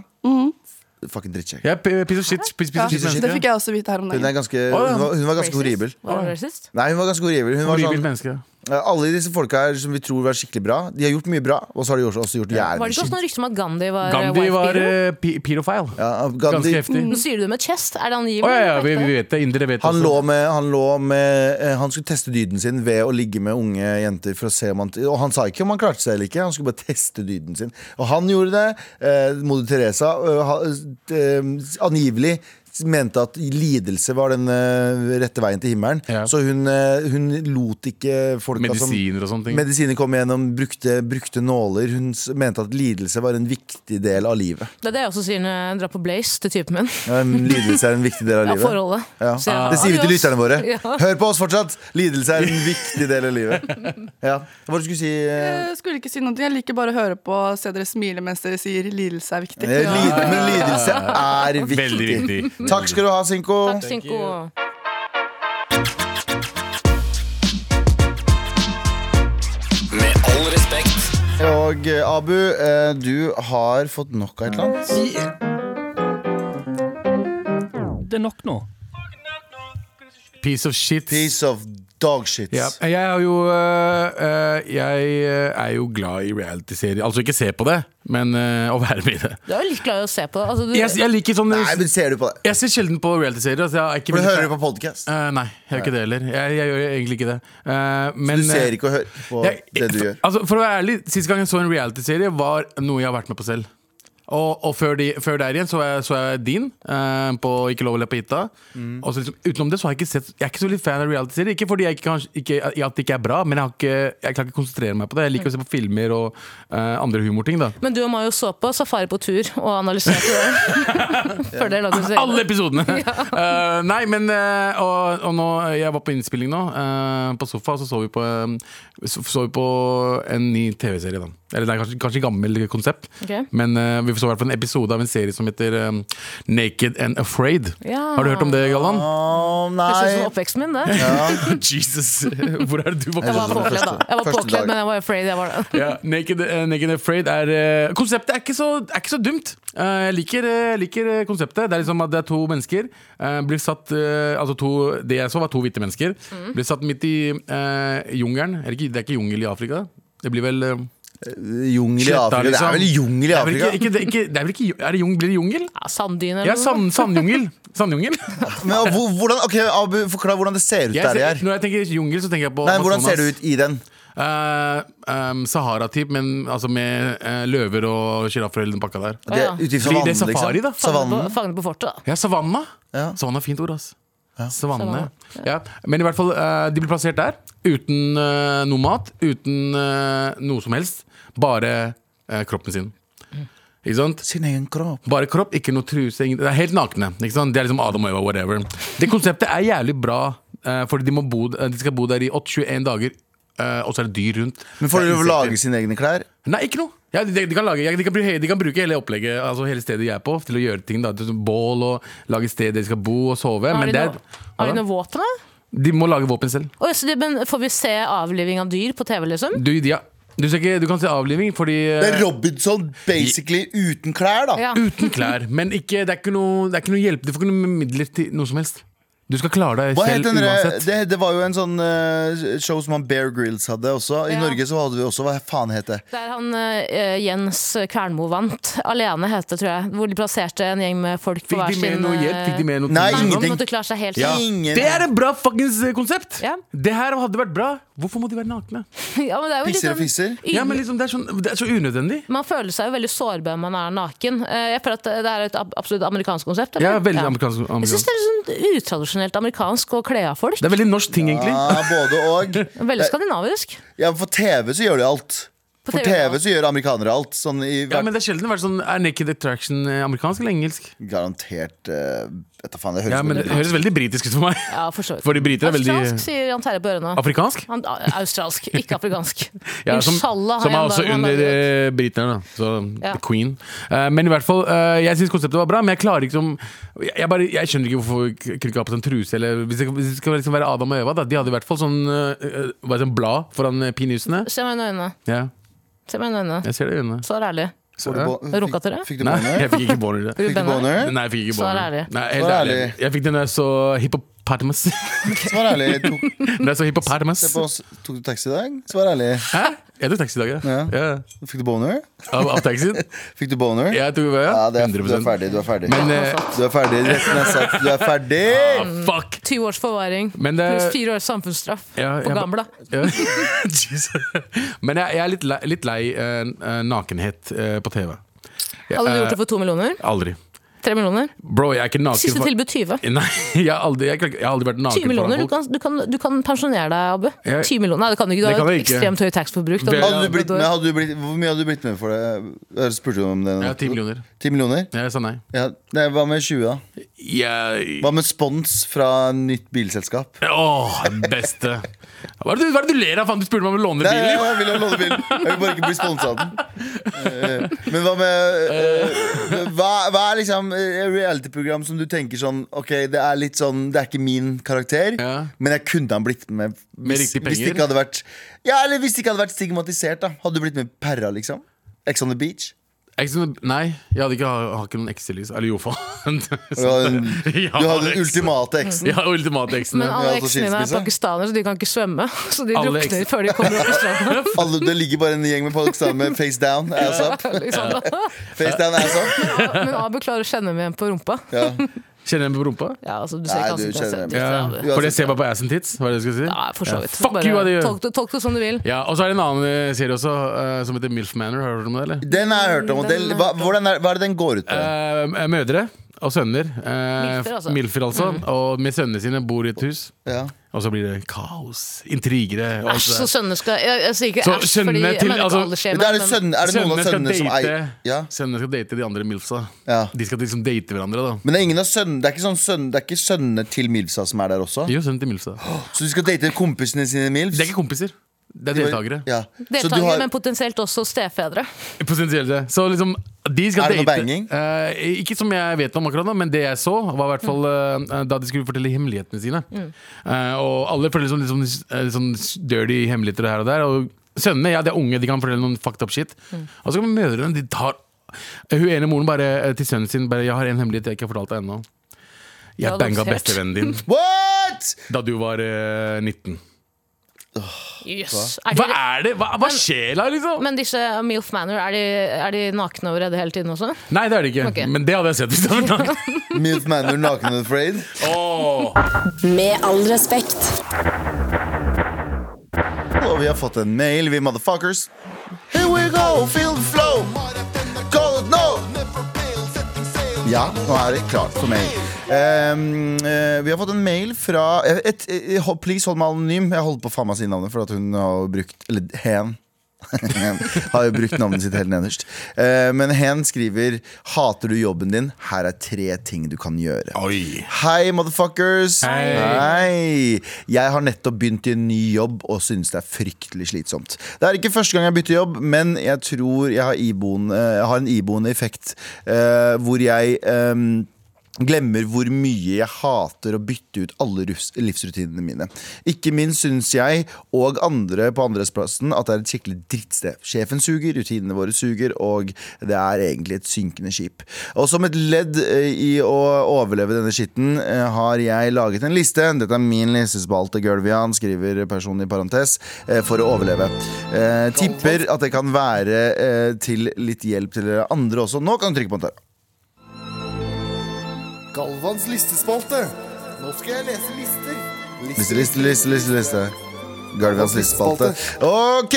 Fucking drittkjekk. Jeg er p- piece of shit, piece, piece ja. of shit Det menneske. fikk jeg også vite her om Hun, er dagen. ganske, Å, ja. hun, var, hun var ganske Racist? horribel. Var det racist? Nei, hun var ganske horribel. Hun var Horribelt sånn, menneske. alle disse folka her som vi tror var skikkelig bra, de har gjort mye bra, og så har de også, også gjort Var det jævlig ikke også skitt. noen rykter om at Gandhi var eh, Gandhi wife var beater? eh, pi- pedofil. Ja, Ganske Gandhi, heftig. Nå sier du det med chest. Er det angivelig? Å ja, ja, vi, eller er det vi vet det. Indere vet han også. lå med, han lå med eh, Han skulle teste dyden sin ved å ligge med unge jenter. For å se om han, og han sa ikke om han klarte seg eller ikke, han skulle bare teste dyden sin. Og han gjorde det. Eh, Moder Teresa eh, ha- eh, angivelig mente at lidelse var den eh, rette veien til himmelen. Ja. Så hun, eh, hun lot ikke folka som Medisiner og sånne ting. Medisiner kom igjennom, brukte, brukte nåler. Hun s- mente at lidelse var en viktig del av livet. Det er det jeg også sier når jeg drar på Blaze til typen min. Ja, men Lidelse er en viktig del av *laughs* Ja, livet. forholdet. Ja. Så jeg- Det sier vi til lytterne våre. Ja. Hør på oss fortsatt! Lidelse er en viktig del av *laughs* livet. Ja. Hva var det du skulle si? eh? Jeg skulle ikke si noe, jeg liker bare å høre på og se dere smile mens dere sier lidelse er viktig. Eh, Lid, men lidelse er Veldig viktig. viktig. Takk skal du ha, Sinko. Takk, Synko. Med all respekt. Og eh, Abu, eh, du har fått nok av et eller annet. Det er nok nå. Piece of shit. Piece of dogshit. Ja. Eh, Jeg, har jo, øh, øh, jeg øh, er jo glad i realityserier. Altså ikke se på det, men øh, å være med i det. Du er jo litt glad i å se på. Altså, du, Jeg, jeg liker sånn Nei, men ser du på det? Jeg ser sjelden på realityserier. Altså, jeg er ikke For du veldig- hører på podkast. Eh, nei, jeg gjør ikke det heller. Jeg, jeg gjør egentlig ikke det. Eh, men, Du ser ikke og hører på jeg, det du gjør. Altså, for å være ærlig, Sist gang jeg så en realityserie, var noe jeg har vært med på selv. Og, og før, de, før der igjen så jeg, så jeg din eh, på Ikke lov å le på hytta. Og så liksom, utenom det så har jeg ikke sett Jeg er ikke så veldig fan av realityserier. Ikke fordi jeg ikke, kan, ikke, at det ikke er bra, men jeg, har ikke, jeg klarer ikke å konsentrere meg på det. Jeg liker å se på filmer og eh, andre humorting. da Men du og Mayo så på Safari på tur og analyserte det. *laughs* Før dere lagde serien. Alle *laughs* episodene! Eh, nei, men eh, og, og nå, Jeg var på innspilling nå, eh, på sofa, så så vi på, eh, så, så vi på en ny TV-serie. da Eller det er kanskje, kanskje gammel konsept, Ok. men eh, vi så i hvert fall en episode av en serie som heter eh, Naked and Afraid. Ja. Har du hørt om det, *laughs* Galvan? Å, Det ser ut som nei. oppveksten min, det. Jesus! *laughs* Hvor er det du Jeg Jeg vokste var synes det opp? var påkledd, da. første- første dag. Jeg var påkledd, men jeg var afraid. Jeg var det. Ja, Naked, eh, Naked and Afraid er eh, Konseptet er ikke så, er ikke så dumt. Eh, jeg liker, eh, liker eh, konseptet. Det er liksom at det er to mennesker. eh, blir satt eh, Altså to, Det jeg så, var to hvite mennesker. Blir satt midt i eh, jungelen. Eller ikke- Det er ikke jungel i Afrika. Det blir vel eh, Jungel i Sletta, Afrika. Det liksom. er vel jungel i Det er vel Afrika? ikke, ikke, det, ikke, det er vel ikke er det jung, Blir det jungel? Ja, Sanddyne Ja, eller noe. sand, sandjungel. Sandjungel. Men ja, hvor- hvordan, ok, Abu, forklar hvordan det ser ut Jeg der de ser, er. når jeg tenker jungel, så tenker jeg på Nei, Hvordan ser det Amazonas. ut i den? Eh, em, Sahara-typ, men altså med eh, løver og sjiraffer og hele den pakka der. Det er ja. ute i Blir det savannen, safari, liksom. Fangene da? på, Savannen. fangene på fortet, da. Ja, savanna. Ja. Savanna er fint ord, ass. Savanne. Savanne, Ja. Men i hvert fall, eh, de blir plassert der. Uten eh, noe mat, uten eh, noe som helst. Bare eh, kroppen sin. Ikke sant? Sin egen kropp. Bare kropp, ikke noe truse. ingen- Det er helt nakne. Ikke sant? Det er liksom Adam og Eva, whatever. Det konseptet er jævlig bra, eh, fordi de, må bo, eh, de skal bo der i 8-21 dager, eh, og så er det dyr rundt. Men får Det de lov er å insekter. lage sine egne klær? Nei, ikke noe. Ja, de, de, kan lage, de, kan, bruke- de kan bruke hele opplegget, altså hele stedet jeg er på, til å gjøre ting. da Til Bål og lage et sted de skal bo og sove. Har Men de det noe, har er, de Hva da? noe våpen, da? de må lage våpen selv. Oi, så de, men får vi se avliving av dyr på TV, liksom? Du, ja. du, ser ikke, du kan se avliving, fordi Det er Robinson basically uten klær, da. Ja. eh, Uten klær. Men ikke, det, er ikke noe, det er ikke noe hjelp. Du får ikke noe midler til noe som helst. Du skal klare deg Hva het selv den der- uansett. det, det var jo en sånn eh, show som han Bear Grills hadde også. I Ja. Norge så hadde vi også Hva faen het det? Der han eh, Jens Kvernmo vant. Alene het det, tror jeg. Hvor de plasserte en gjeng med folk på Fikk hver de sin eh, med noe hjelp? Fikk de med noe Nei, til- ingenting. Måtte klare seg helt Ja. selv. Ingen Det er et bra fuckings eh, konsept! Ja. Det her hadde vært bra. Hvorfor må de være nakne? Ja, men det er jo litt Pisser og sånn fisser? ydmyk- Ja, men liksom, det, er sånn, det er så unødvendig. Man føler seg jo veldig sårbar når man er naken. Eh, Jeg føler at det er et ab- absolutt amerikansk konsept. Jeg eller? er veldig amerikansk. Jeg syns det amerikansk. er sånn utradisjonelt amerikansk å kle av folk. Det er veldig norsk ting, egentlig. Ja, både *laughs* og. Veldig skandinavisk. Ja, for TV så gjør de alt. På For TV, ja. TV så gjør amerikanere alt. Sånn i Ja, men det er sjelden vært sånn Er Naked Attraction eh, amerikansk eller engelsk? Garantert eh, Vet da faen, det høres Ja, men Det veldig høres veldig britisk ut for meg. *laughs* Ja, for så vidt. Fordi briter er veldig Australsk, sier Jan Terje på øret nå. Afrikansk? Han, a- australsk, ikke afrikansk. *laughs* Ja, som, Inshallah har som er jeg en også dag man under lager et- eh, briterne, da. Så Ja. the queen. Eh, men i hvert fall, eh, jeg syns konseptet var bra, men jeg klarer ikke som Jeg, jeg, bare, jeg skjønner ikke hvorfor folk kunne ikke ha på seg en truse, eller hvis det, hvis det skal liksom være Adam og Eva, da. De hadde i hvert fall sånn, eh, eh, hva heter det, blad foran eh, pinusene. Se meg i øynene. Ja, Se meg i øynene. jeg ser det i øynene. Svar ærlig. Får du bo- Runka til det? Fikk, fikk du Nei, boner? jeg fikk ikke boner. i det. Fikk du boner? Nei, jeg fikk ikke Svar boner. ærlig. Nei, helt Svar ærlig. ærlig. Jeg fikk den da jeg så hippopotamus. *laughs* Svar ærlig. Tok, Når jeg så hippopotamus. se på oss. tok du taxi i dag? Svar ærlig. Hæ? Jeg tok taxi i dag, ja. Ja. ja. Fikk du boner? Av, av taxien? Fikk du boner? Jeg tok ja, Ja, det er, du er 100 ferdig. Du er ferdig. Men, eh, ah, du er ferdig. Resten er satt. Du er ferdig! fuck! 20 års forvaring Men det- pluss 4 års samfunnsstraff Ja, på jeg ba- gamla. Ja. *laughs* Jesus. Men jeg, jeg er litt lei, litt lei eh, eh, nakenhet eh, på TV. Jeg, Hadde du eh, gjort det for 2 millioner? Aldri. 3 millioner? Bro, jeg er ikke naken Siste for- tilbud 20. *laughs* Nei, jeg har aldri, jeg, kan ikke- jeg har aldri vært 20 naken millioner, foran du folk. kan, du kan, du kan pensjonere deg, Abbe. Jeg- 10 millioner, Nei, det kan du ikke. Du Det har kan et jeg ikke. ekstremt høy taxforbruk. da. Vel- Hadde du blitt med, hadde du blitt, hvor mye hadde du blitt med for det? Jeg spurte om det. Ja, 10 millioner. 10 millioner? Jeg sa nei. Ja. Nei, hva med 20, da? Jeg, Hva med spons fra nytt bilselskap? Åh, beste. Hva er, det, du- hva er det du ler av? Faen, du spurte meg om å låne Nei, nei, bilen. jeg vil ha lånebilen. Jeg vil bare ikke bli sponsa av den. Eh, Men hva med eh, Hva, hva er liksom eh, reality-program som du tenker sånn Ok, det er litt sånn Det er ikke min karakter, Ja. men jeg kunne ha blitt med hvis, Med riktige hvis det penger. ikke hadde vært Ja, eller hvis det ikke hadde vært stigmatisert, da. Hadde du blitt med Perra, liksom? Ex on the beach? Jeg skulle- Nei, jeg hadde ikke, jeg har ikke noen ekselys. Eller jo, faen. *laughs* Du hadde den, Jeg du hadde har den eks. ultimate eksen. Jeg har ultimate eksen. Men ja. Ja, alle altså eksene mine er skilsmisse. pakistanere, så de kan ikke svømme. *laughs* Så de Alle drukner eksene- før de kommer opp i stranda. *laughs* Alle, det ligger bare en gjeng med pakistanere med face down, ass up. *laughs* Liksom. Face down, ass up. Men Abu klarer å kjenne meg igjen på rumpa. Ja. Kjenner jeg meg på rumpa? Ja, altså, du Nei, ser du ikke kjenner ansiktet. dem. Ja. Ja. Fordi jeg ser bare på ass and tits? Hva er det jeg skal si? Ja, for så vidt. Fuck you, hva de gjør. tolk, det- tolk det som du vil. Ja, Og så er det en annen eh, serie også, eh, som heter Milf Manor. Har du hørt om det, eller? Den har jeg hørt om. og Den, hva, hvordan er, hva er det den går ut på? Eh, mødre og sønner. eh, Milfer, altså. Milfer, altså. Og med sønnene sine bor i et hus. Ja. Og så blir det kaos, intrigere og alt Æsj, så det der. sønner skal Jeg, jeg sier ikke Så æsj, fordi sønnene jeg til- mener ikke altså- alle Men da er, det skjemaer. sønne, er det noen av sønnene Sønnene som skal eier date- ja. Sønnene skal date de andre Milfsa. Ja. De skal liksom date hverandre, da. Men det er, ingen av sønnen, det er ikke sånn sønn, Det er ikke sønnene til Milfsa som er der også? Jo, sønnen til Milfsa. Så du skal date kompisene sine Milfs? De er ikke kompiser. Det er deltakere. Ja. Så du Deltakere, har, men potensielt også stefedre. Potensielt det. Så liksom, de skal Er det noe date- banging? Eh, ikke som jeg vet om akkurat nå, men det jeg så, var i hvert fall eh, da de skulle fortelle hemmelighetene sine. Mm. Eh, og alle føler liksom, liksom, eh, sånn dirty hemmeligheter her og der. Og sønnene, ja, de er unge, de kan fortelle noen fucked up shit. Mm. Og så kommer mødrene, de tar Hun ene moren bare eh, til sønnen sin bare 'Jeg har en hemmelighet jeg ikke har fortalt deg ennå'. Jeg Du er banga adoptert. bestevennen din What?! da du var eh, 19. Jøss. Hva Er de, er det? Hva, hva skjer da, liksom? men disse Milf Manor, er de, er de nakne og redde hele tiden også? Nei, det er det ikke. Ok. Men det hadde jeg sett hvis det *laughs* hadde vært nakne. Milf Manor naken and afraid. Åh. Med all respekt. Og vi har fått en mail, vi motherfuckers. Here we go, feel the flow. Call it no. Ja, nå er det klart for mail. Ehm, eh, vi har fått en mail fra eh, et, eh, hold- Please hold meg anonym. Jeg holder på å faen meg si navnet, for at hun har jo brukt Eller hen. *laughs* har jo brukt navnet sitt helt nederst. Eh, men hen skriver 'Hater du jobben din? Her er tre ting du kan gjøre'. Oi. Hei, motherfuckers! Hei. Hei. Jeg har nettopp begynt i en ny jobb og synes det er fryktelig slitsomt. Det er ikke første gang jeg bytter jobb, men jeg tror jeg har, iboende, jeg har en iboende effekt eh, hvor jeg ehm, Glemmer hvor mye jeg hater å bytte ut alle rus- livsrutinene mine. Ikke minst syns jeg og andre på andreplassen at det er et skikkelig drittsted. Sjefen suger, rutinene våre suger, og det er egentlig et synkende skip. Og som et ledd eh, i å overleve denne skitten eh, har jeg laget en liste. Dette er min listespalte, Gulvian, skriver personen i parentes, eh, for å overleve. Eh, Tipper at det kan være eh, til litt hjelp til dere andre også. Nå kan du trykke på den der. Galvans listespalte. Nå skal jeg lese lister. Liste, liste, liste, liste, liste. Galvans listespalte. Ok,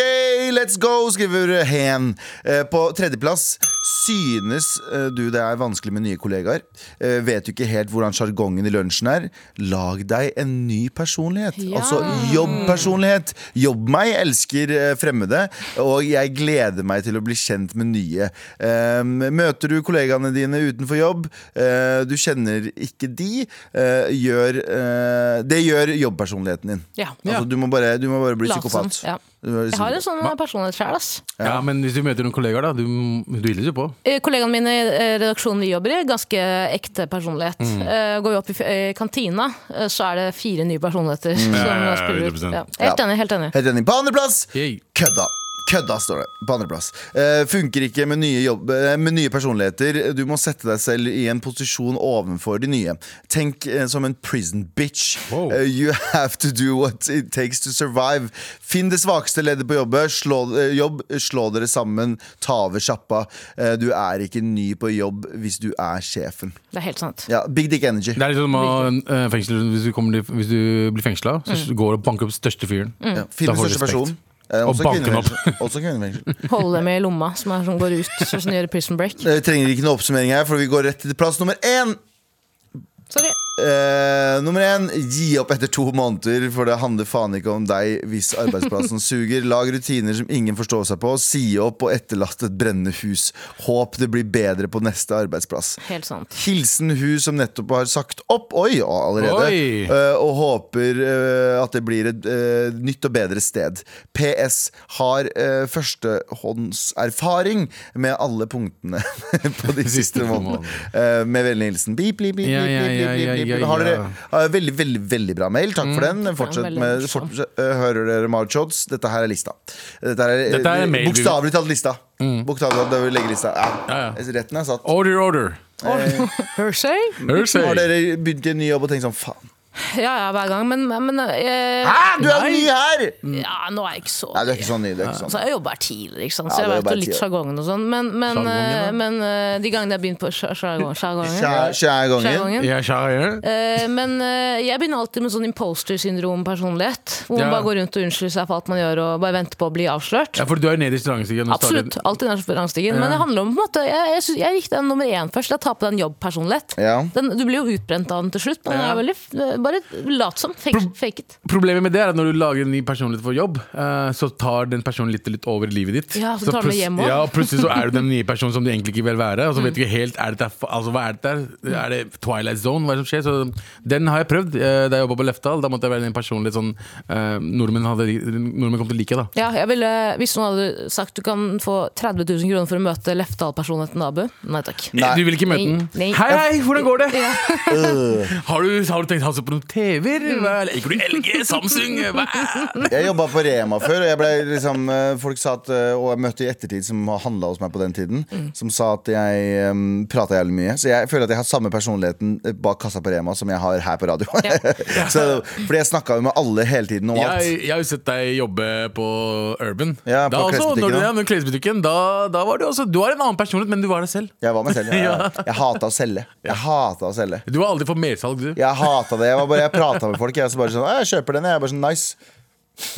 let's go, skriver Hen. Eh, På tredjeplass. Synes eh, du det er vanskelig med nye kollegaer? Eh, Vet du ikke helt hvordan sjargongen i lunsjen er? Lag deg en ny personlighet. Altså jobbpersonlighet. Jobb meg elsker eh, fremmede, og jeg gleder meg til å bli kjent med nye. Ehm, Møter du kollegaene dine utenfor jobb, eh, du kjenner ikke de, eh, gjør, eh, det gjør jobbpersonligheten din. Ja. Altså, du, må bare, du må bare bli Lat som, psykopat. ja. Du må liksom bli Jeg har en psykopat. sånn personlighet sjøl, ass. Ja, men hvis du møter noen kollegaer, da. Du, du hilser jo på. Eh, Kollegaene mine i eh, redaksjonen vi jobber i, ganske ekte personlighet. Mm. Eh, Går vi opp i f- eh, kantina, eh, så er det fire nye personligheter. som Mm. ja, ja, spiller ut. 100%. Ja. Helt enig. helt enig Helt enig. På andreplass Yay. Kødda. Kødda, står det. På andreplass. Eh, funker ikke med nye, jobb, eh, med nye personligheter. Du må sette deg selv i en posisjon ovenfor de nye. Tenk eh, som en prison bitch. Wow. Eh, you have to do what it takes to survive. Finn det svakeste leddet på jobbet. Slå, eh, jobb. Slå dere sammen. Ta over sjappa. Eh, du er ikke ny på jobb hvis du er sjefen. Det er helt sant. Ja, Big dick energy. Det er litt som å eh, fengsel, hvis, du kommer, til- hvis du blir fengsla, så går du og banker opp største fyren. Ja, Finn Da den får du største respekt. personen. Eh, Og også bank den opp. kvinnefengsel. *laughs* Også kvinnefengsel. Holde dem i lomma, som, er, som går ut, sånn som de gjør i Prison Break. Vi Eh, trenger ikke noe oppsummering her, for vi går rett til plass nummer én. Sorry. Eh, nummer én, gi opp etter to måneder, for det handler faen ikke om deg hvis *laughs* arbeidsplassen suger. Lag rutiner som ingen forstår seg på, si opp og etterlat et brennende hus. Håp det blir bedre på neste arbeidsplass. Helt sant. Hilsen hun som nettopp har sagt opp Oi, ja, allerede Oi. Eh, Og håper eh, at det blir et eh, nytt og bedre sted PS har eh, førstehåndserfaring Med alle punktene *laughs* På de siste månedene Eh, Med vennlig hilsen Beep, beep, beep, Ja, beep, ja, beep, ja, beep, ja, beep, ja, beep. Har dere ja. Mm. eh, Veldig, veldig, veldig bra mail Takk for den Fortsett veldig med morsom. fortsett, eh, Hører dere Marshots Dette her er lista Dette her er, Dette er en mail vi- Mm. Bokstavlig talt lista Bokstavlig talt der vi legger lista ja. Ja, Retten er satt Order, order. Hersey? Hersey. Har dere begynt i en ny jobb og tenkt sånn Faen, Ja, ja, hver gang, men, men eh, Hæ, du er ny her! ja, nå er jeg ikke så Nei, du er ikke sånn ny. Du er ikke Altså, sånn. jeg jobba her tidligere, ikke sant? Ja, så jeg du vet jobber her jo litt tidligere. sjargongen og sånn. Men, men, Sjargongen, ja. eh, men eh, de gangene jeg begynner på sjar- sjargong- sjargongen Skjær- Skjær gangen. Sjargongen. Ja, kjære, ja. Eh, Men eh, jeg begynner alltid med sånn imposter syndrom-personlighet. Hvor man Ja. bare går rundt og unnskylder seg for alt man gjør, og bare venter på å bli avslørt. ja, for du er nede i restaurantstigen. og starter- Absolutt. Alltid nær rangstigen. Men det handler om på en måte Jeg, jeg, synes- jeg gikk den nummer én først. Jeg tar på deg en jobbpersonlighet. Ja. Den, du blir jo utbrent av den til slutt, men Ja. det er veldig, eh, bare lat som. Fake, fake it. Problemet med det er at når du lager en ny personlighet for jobb, eh, så tar den personen litt, litt over i livet ditt. Ja, så tar den det plutselig- hjem også. Mm. Ja, og plutselig så er du *laughs* den nye personen som du egentlig ikke vil være. Og så vet du ikke helt, er det der, altså, Hva er det der? Er det Twilight Zone? Hva er det som skjer? Så den har jeg prøvd. eh, Da jeg jobba på Lefdal, da måtte jeg være den personlige sånn eh, nordmenn, hadde, nordmenn kom til å like, da. Ja, jeg ville, hvis noen hadde sagt du kan få 30 000 kroner for å møte Lefdal-personligheten Abu Nei takk. *laughs* Nei. Du vil ikke møte den. Nei, nei. Hei, hei, hvordan går det? *laughs* har, du, har du tenkt å ha seg på liker du TV-er? Mm. Hva- Liker du LG? Samsung? Hva? Jeg jobba på Rema før, og jeg ble liksom, eh, folk sa at, eh, og jeg møtte i ettertid som handla hos meg på den tiden, som sa at jeg um, prata jævlig mye. Så jeg føler at jeg har samme personligheten eh, bak kassa på Rema som jeg har her på radio. *laughs* så, fordi jeg snakka jo med alle hele tiden om alt. Jeg, jeg har jo sett deg jobbe på Urban. Ja, på da også, klesbutikken, når du, ja. ja, men klesbutikken da, da var du også Du har en annen personlighet, men du var deg selv. Jeg var meg selv. Jeg, jeg, jeg hata å selge. Jeg hata å selge. Du har aldri fått mersalg, du. Jeg hata det. Jeg, var bare- jeg prata med folk. Jeg så bare sånn, «Å, jeg kjøper den. Jeg er bare sånn nice.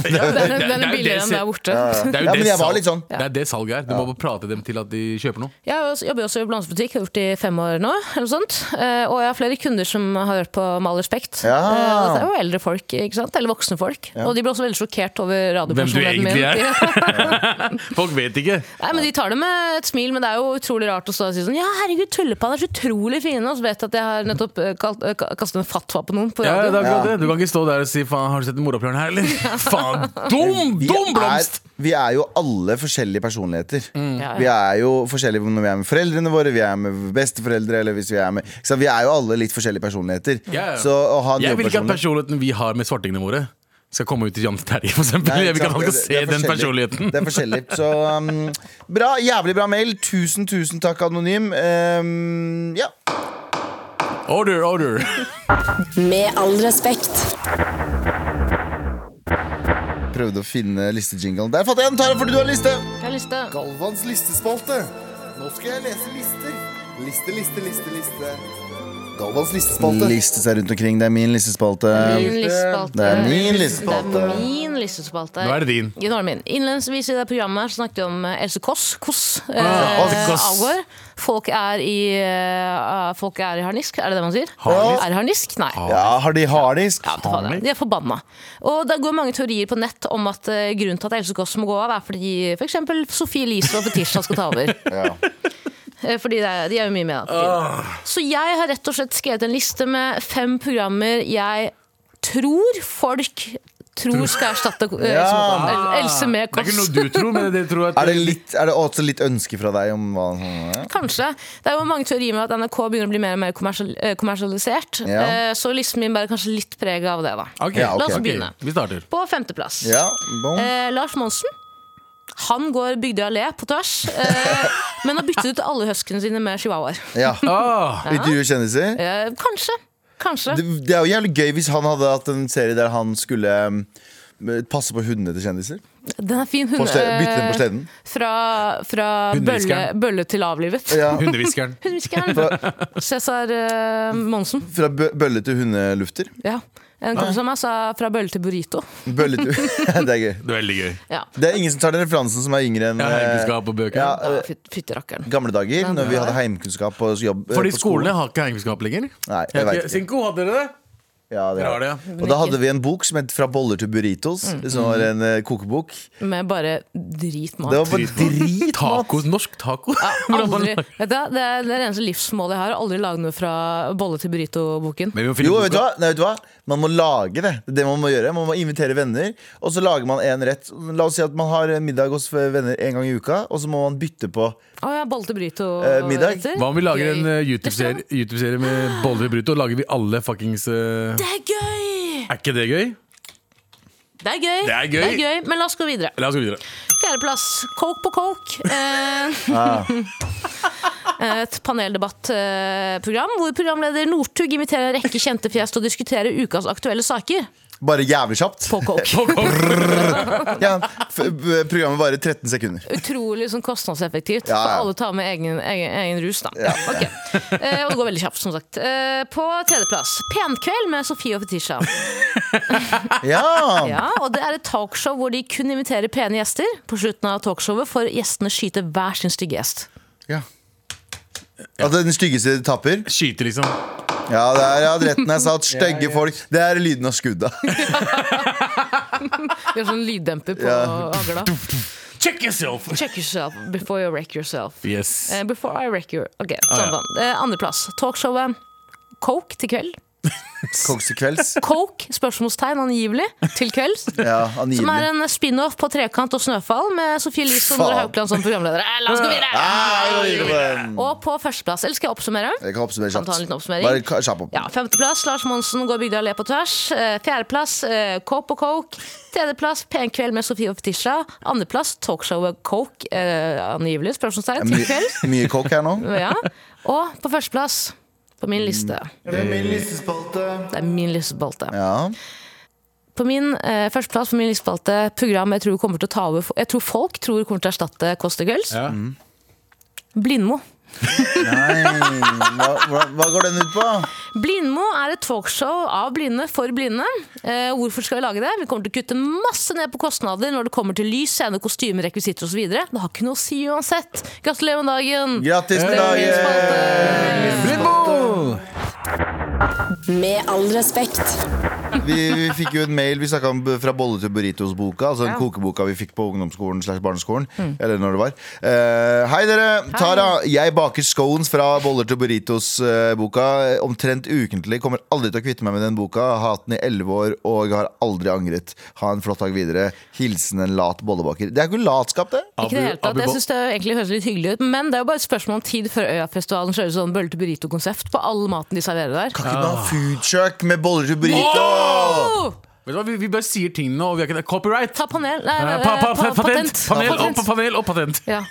Ja, det- Den, det- den det er jo billigere enn det- der borte. Det er jo Ja, det men jeg var salg- litt sånn. Det er det salget er. Du må bare prate dem til at de kjøper noe. Jeg har også- jobber jo også i blomsterbutikk, har gjort det i fem år nå. Eller noe sånt. Eh, Og jeg har flere kunder som har hørt på Med all respekt. Ja. Eh, og Det er jo eldre folk, ikke sant? eller voksne folk. Og de blir også veldig sjokkert over radiopersonligheten min. Hvem du *laughs* egentlig Folk vet ikke. Nei, men De tar det med et smil, men det er jo utrolig rart å stå og si sånn Ja, herregud, tullepann er så utrolig fine, og så vet jeg at jeg har nettopp eh, kalt, eh, ka- kastet en fatwa på noen på Ja, det radio. er Ja. akkurat det. Du kan ikke stå der og si faen, har du sett morapuleren her, eller? *laughs* Faen, dum, Vi dum er, blomst! Mm. vi er jo alle forskjellige personligheter. Ja, ja. Vi er jo forskjellige når vi er med foreldrene våre, vi er med besteforeldre eller hvis vi er med ikke sant? Vi er jo alle litt forskjellige personligheter. Ja, ja. Så å ha en Jeg vil ikke at jobbpersonlighet personligheten vi har med svartingene våre, skal komme ut i Jan Terje, for eksempel. Nei, Jeg vil sant, ikke at han skal det- se det er den forskjellig. personligheten. Det er forskjellig. Så um, bra. Jævlig bra mail. Tusen, tusen takk, Anonym. Um, ja. Order, order. Med all respekt. Prøvde å finne listejinglen. Der fant jeg den! Tara, fordi du har liste! Jeg har lyst til Galvans listespalte. Nå skal jeg lese lister. Liste, liste, liste, liste. Galvans listespalte. Liste seg rundt omkring. Det er min listespalte. Min listespalte. Det er min Det listespalte. er min listespalte. Nå er det din. I Normin. Innledningsvis i det programmet her snakket vi om eh, Else Kåss. Kåss eh, Ah, Else Kåss. avgår. Folk er i eh, Folk er i harnisk, er det det man sier? Harnisk? Er i harnisk? Nei. Ja, har de hardisk? Ja, vet du hva det er. de er forbanna. Og det går mange teorier på nett om at eh, grunnen til at Else Kåss må gå av, er fordi f.eks. Sofie Elise og Fetisha skal ta *laughs* over. Eh, Fordi det er, de er jo mye med da. for Ah. tiden. Så jeg har rett og slett skrevet en liste med fem programmer jeg tror folk tror skal erstatte eh, Ja. Else Kåss- El- Else med Ah. Det er ikke Kåss. noe du tror, men det tror jeg at Er det, litt, er det også litt ønske fra deg om hva ja. Kanskje. Det er jo mange teorier med at NRK begynner å bli mer og mer kommersial, eh, kommersialisert. Ja. Eh, Så listen min bærer kanskje litt preg av det, da. Ok, Ja, ok. La oss ok, begynne. Vi starter. På femteplass. ja, bom. Eh, Lars Monsen han går Bygdøy allé på tvers, eh, men har byttet ut alle huskene sine med chihuahuaer. ja. Ah, Intervjue kjendiser. Eh, kanskje. Kanskje. Det, det er jo jævlig gøy hvis han hadde hatt en serie der han skulle mm, passe på hundene til kjendiser. Den er fin. Hun, På ste- eh, bytte dem på sleden. Fra, fra bølle, Hundehviskeren. bølle til avlivet. Ja. Ah, Hundehviskeren. *laughs* Hundehviskeren. Cæsar eh, Monsen. Fra bø bølle til hundelufter. Ja. En kompis av meg sa 'fra bølle til burrito'. Bølle til *laughs* Det er gøy. Det er veldig gøy. Ja. Det er ingen som tar den referansen som er yngre enn Ja, eh, Heimkunnskap og bøker. ja, Da, eh, fyt- Fytti rakkeren. gamle dager, når vi hadde heimkunnskap på jobb. eh, Fordi på skolene har ikke heimkunnskap lenger. Nei, jeg vet ikke. Sinko, hadde dere det? Ja, det Dere har har. det, ja. Og da hadde vi en bok som het 'Fra boller til burritos', som var en eh, kokebok. Med bare dritmat. Det var bare drit Tacos, norsk taco. Ja, *laughs* Hvordan var *laughs* aldri, det? vet du, hva, det er det er det eneste livsmålet jeg har. Aldri lage noe fra bolle til burrito-boken. Men vi må finne Jo, vet du, boka. hva? Nei, vet du hva? Man må lage det. Det er det man må gjøre. Man må invitere venner, og så lager man en rett. La oss si at man har middag hos venner en gang i uka, og så må man bytte på. Å ja, bolle til burrito. Eh, middag? heter. Hva om vi lager en eh, Gøy. YouTube-serie YouTube med Bolle Bruto? Lager vi alle fuckings eh, Det er gøy! Er ikke det gøy? Det er gøy. Det er gøy. Men la oss gå videre. La oss gå videre. Fjerdeplass. Coke på coke. Eh, Ah. *laughs* et paneldebattprogram eh, hvor programleder Northug inviterer en rekke kjente fjes til å diskutere ukas aktuelle saker Bare jævlig kjapt. på coke. Ja, f programmet varer 13 sekunder. Utrolig sånn kostnadseffektivt. Ja, ja. Så alle tar med egen, egen, egen rus, da. Ok. Eh, og det går veldig kjapt, som sagt. Eh, på tredjeplass Penkveld med Sofie og Fetisha. *laughs* Ja! Ja, og det er et talkshow hvor de kun inviterer pene gjester. På slutten av talkshowet får gjestene skyte hver sin stygge gjest. At den styggeste taper. Skyte, liksom. Ja, det er, ja retten er *laughs* satt. Stygge folk. Det er lyden av skudda. Det er sånn lyddemper på Ja. hagla. Check yourself! Check yourself before you wreck yourself. Yes. Eh, before I wreck your Ok, Ah, sånn ja. vann. Eh, Andreplass. Talkshowet Coke til kveld. Koks til kvelds. Coke, spørsmålstegn angivelig, til kvelds. Ja, Som er angivelig. en spin-off på Trekant og Snøfall med Sofie Elise og Nora Faen. Haukeland som programledere. Eh, La oss gå Ah, videre! jeg går videre på den. Og på førsteplass, eller skal jeg oppsummere? Jeg kan oppsummere Kan kjapt. ta en liten oppsummering. Bare ka- kjapp opp. Ja, Femteplass Lars Monsen går Bygdøy allé på tvers. Eh, Fjerdeplass eh, Cope og Coke. Tredjeplass Penkveld med Sofie og Fetisha. Andreplass talkshowet Coke, eh, angivelig, spørsmålstegn, til Mye, kvelds. *laughs* mye kokk her nå. Ja. Og på førsteplass på min liste. Det er min listespalte. Ja. På min eh, førsteplass på min listespalte program jeg tror kommer til å ta over Jeg tror folk tror kommer til å erstatte Kåss til kvelds. Ja. Blindmo. Nei, hva, hva, hva går den ut på? Blindmo er et talkshow av blinde for blinde. Eh, hvorfor skal vi lage det? Vi kommer til å kutte masse ned på kostnader når det kommer til lys, scene, kostymer, rekvisitter osv. Det har ikke noe å si uansett. Gratulerer med dagen! Grattis med dagen! Med all respekt. Vi, vi fikk jo en mail vi snakket om b- fra bolle til burritos-boka. Altså den kokeboka vi fikk på ungdomsskolen slash barneskolen. Eller når det var. Eh, Mm. hei, dere. Tara. Jeg baker scones fra boller til burritos-boka omtrent ukentlig. Kommer aldri til å kvitte meg med den boka. Har hatt den i elleve år og har aldri angret. Ha en flott dag videre. Hilsen en lat bollebaker. Det er ikke latskap, det. Ikke i det hele tatt. Jeg synes det egentlig høres litt hyggelig ut, men det er jo bare et spørsmål om tid før Øyafestivalen kjører sånn bølle til burrito-konsept på all maten de serverer der. Kan ikke du ha foodtruck med boller til burrito? Oh! Vet du hva, vi, vi bare sier tingene, og vi har ikke det. Copyright! Ta panel Nei, Eh, eh, pa, pa, pa- pa, patent! Panel, Patent. Og, pa- panel og patent. Ja.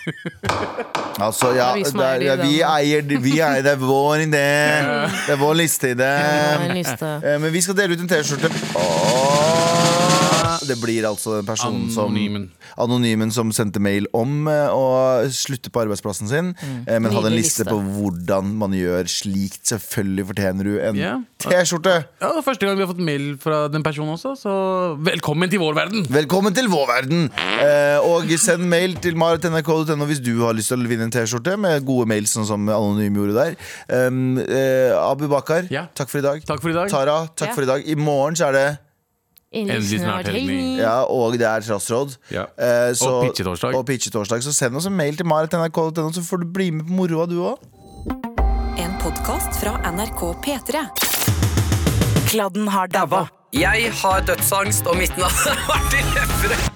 Altså, ja, Det er vi det som eier er, de, ja, vi da. eier de- vi eier, Det er vår *laughs* idé. Det er vår liste i en det. liste. Eh, Men vi skal dele ut en T-skjorte. Åh! Det blir altså den personen som Anonymen. Anonymen som sendte mail om eh, å slutte på arbeidsplassen sin, eh, men hadde en Mm. Nydelig liste liste. på hvordan man gjør slikt. Selvfølgelig fortjener du en Ja. T-skjorte! Ja, det er første gang vi har fått mail fra den personen også, så velkommen til vår verden! Velkommen til vår verden! Eh, og send mail til marit.nrk.no hvis du har lyst til å vinne en T-skjorte med gode mails, sånn som Anonym gjorde der. Um, eh, Abu Bakar, Ja. takk for i dag. Takk for i dag. Tara, takk Ja. for i dag. I morgen så er det Endelig snart helg. ja, og det er trassråd. Ja. Eh, Og pitchetorsdag. og pitchetorsdag. Så send oss en mail til marit.nrk.no, så får du bli med på moroa, du òg. En podkast fra NRK P3. Kladden har daua. Jeg har dødsangst, og mitt navn er Martin Lepperød.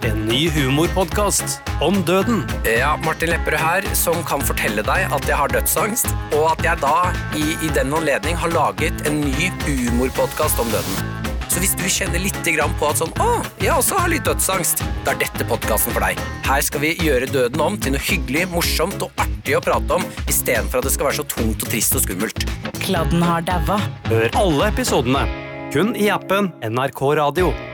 En ny humorpodkast om døden. Ja, Martin Lepperød her, som kan fortelle deg at jeg har dødsangst, og at jeg da, i, i den anledning, har laget en ny humorpodkast om døden. Så hvis du kjenner litt grann på at sånn, å, jeg også har litt dødsangst, da er dette podkasten for deg. Her skal vi gjøre døden om til noe hyggelig, morsomt og artig å prate om, istedenfor at det skal være så tungt og trist og skummelt. Kladden har daua. Hør alle episodene kun i appen NRK Radio.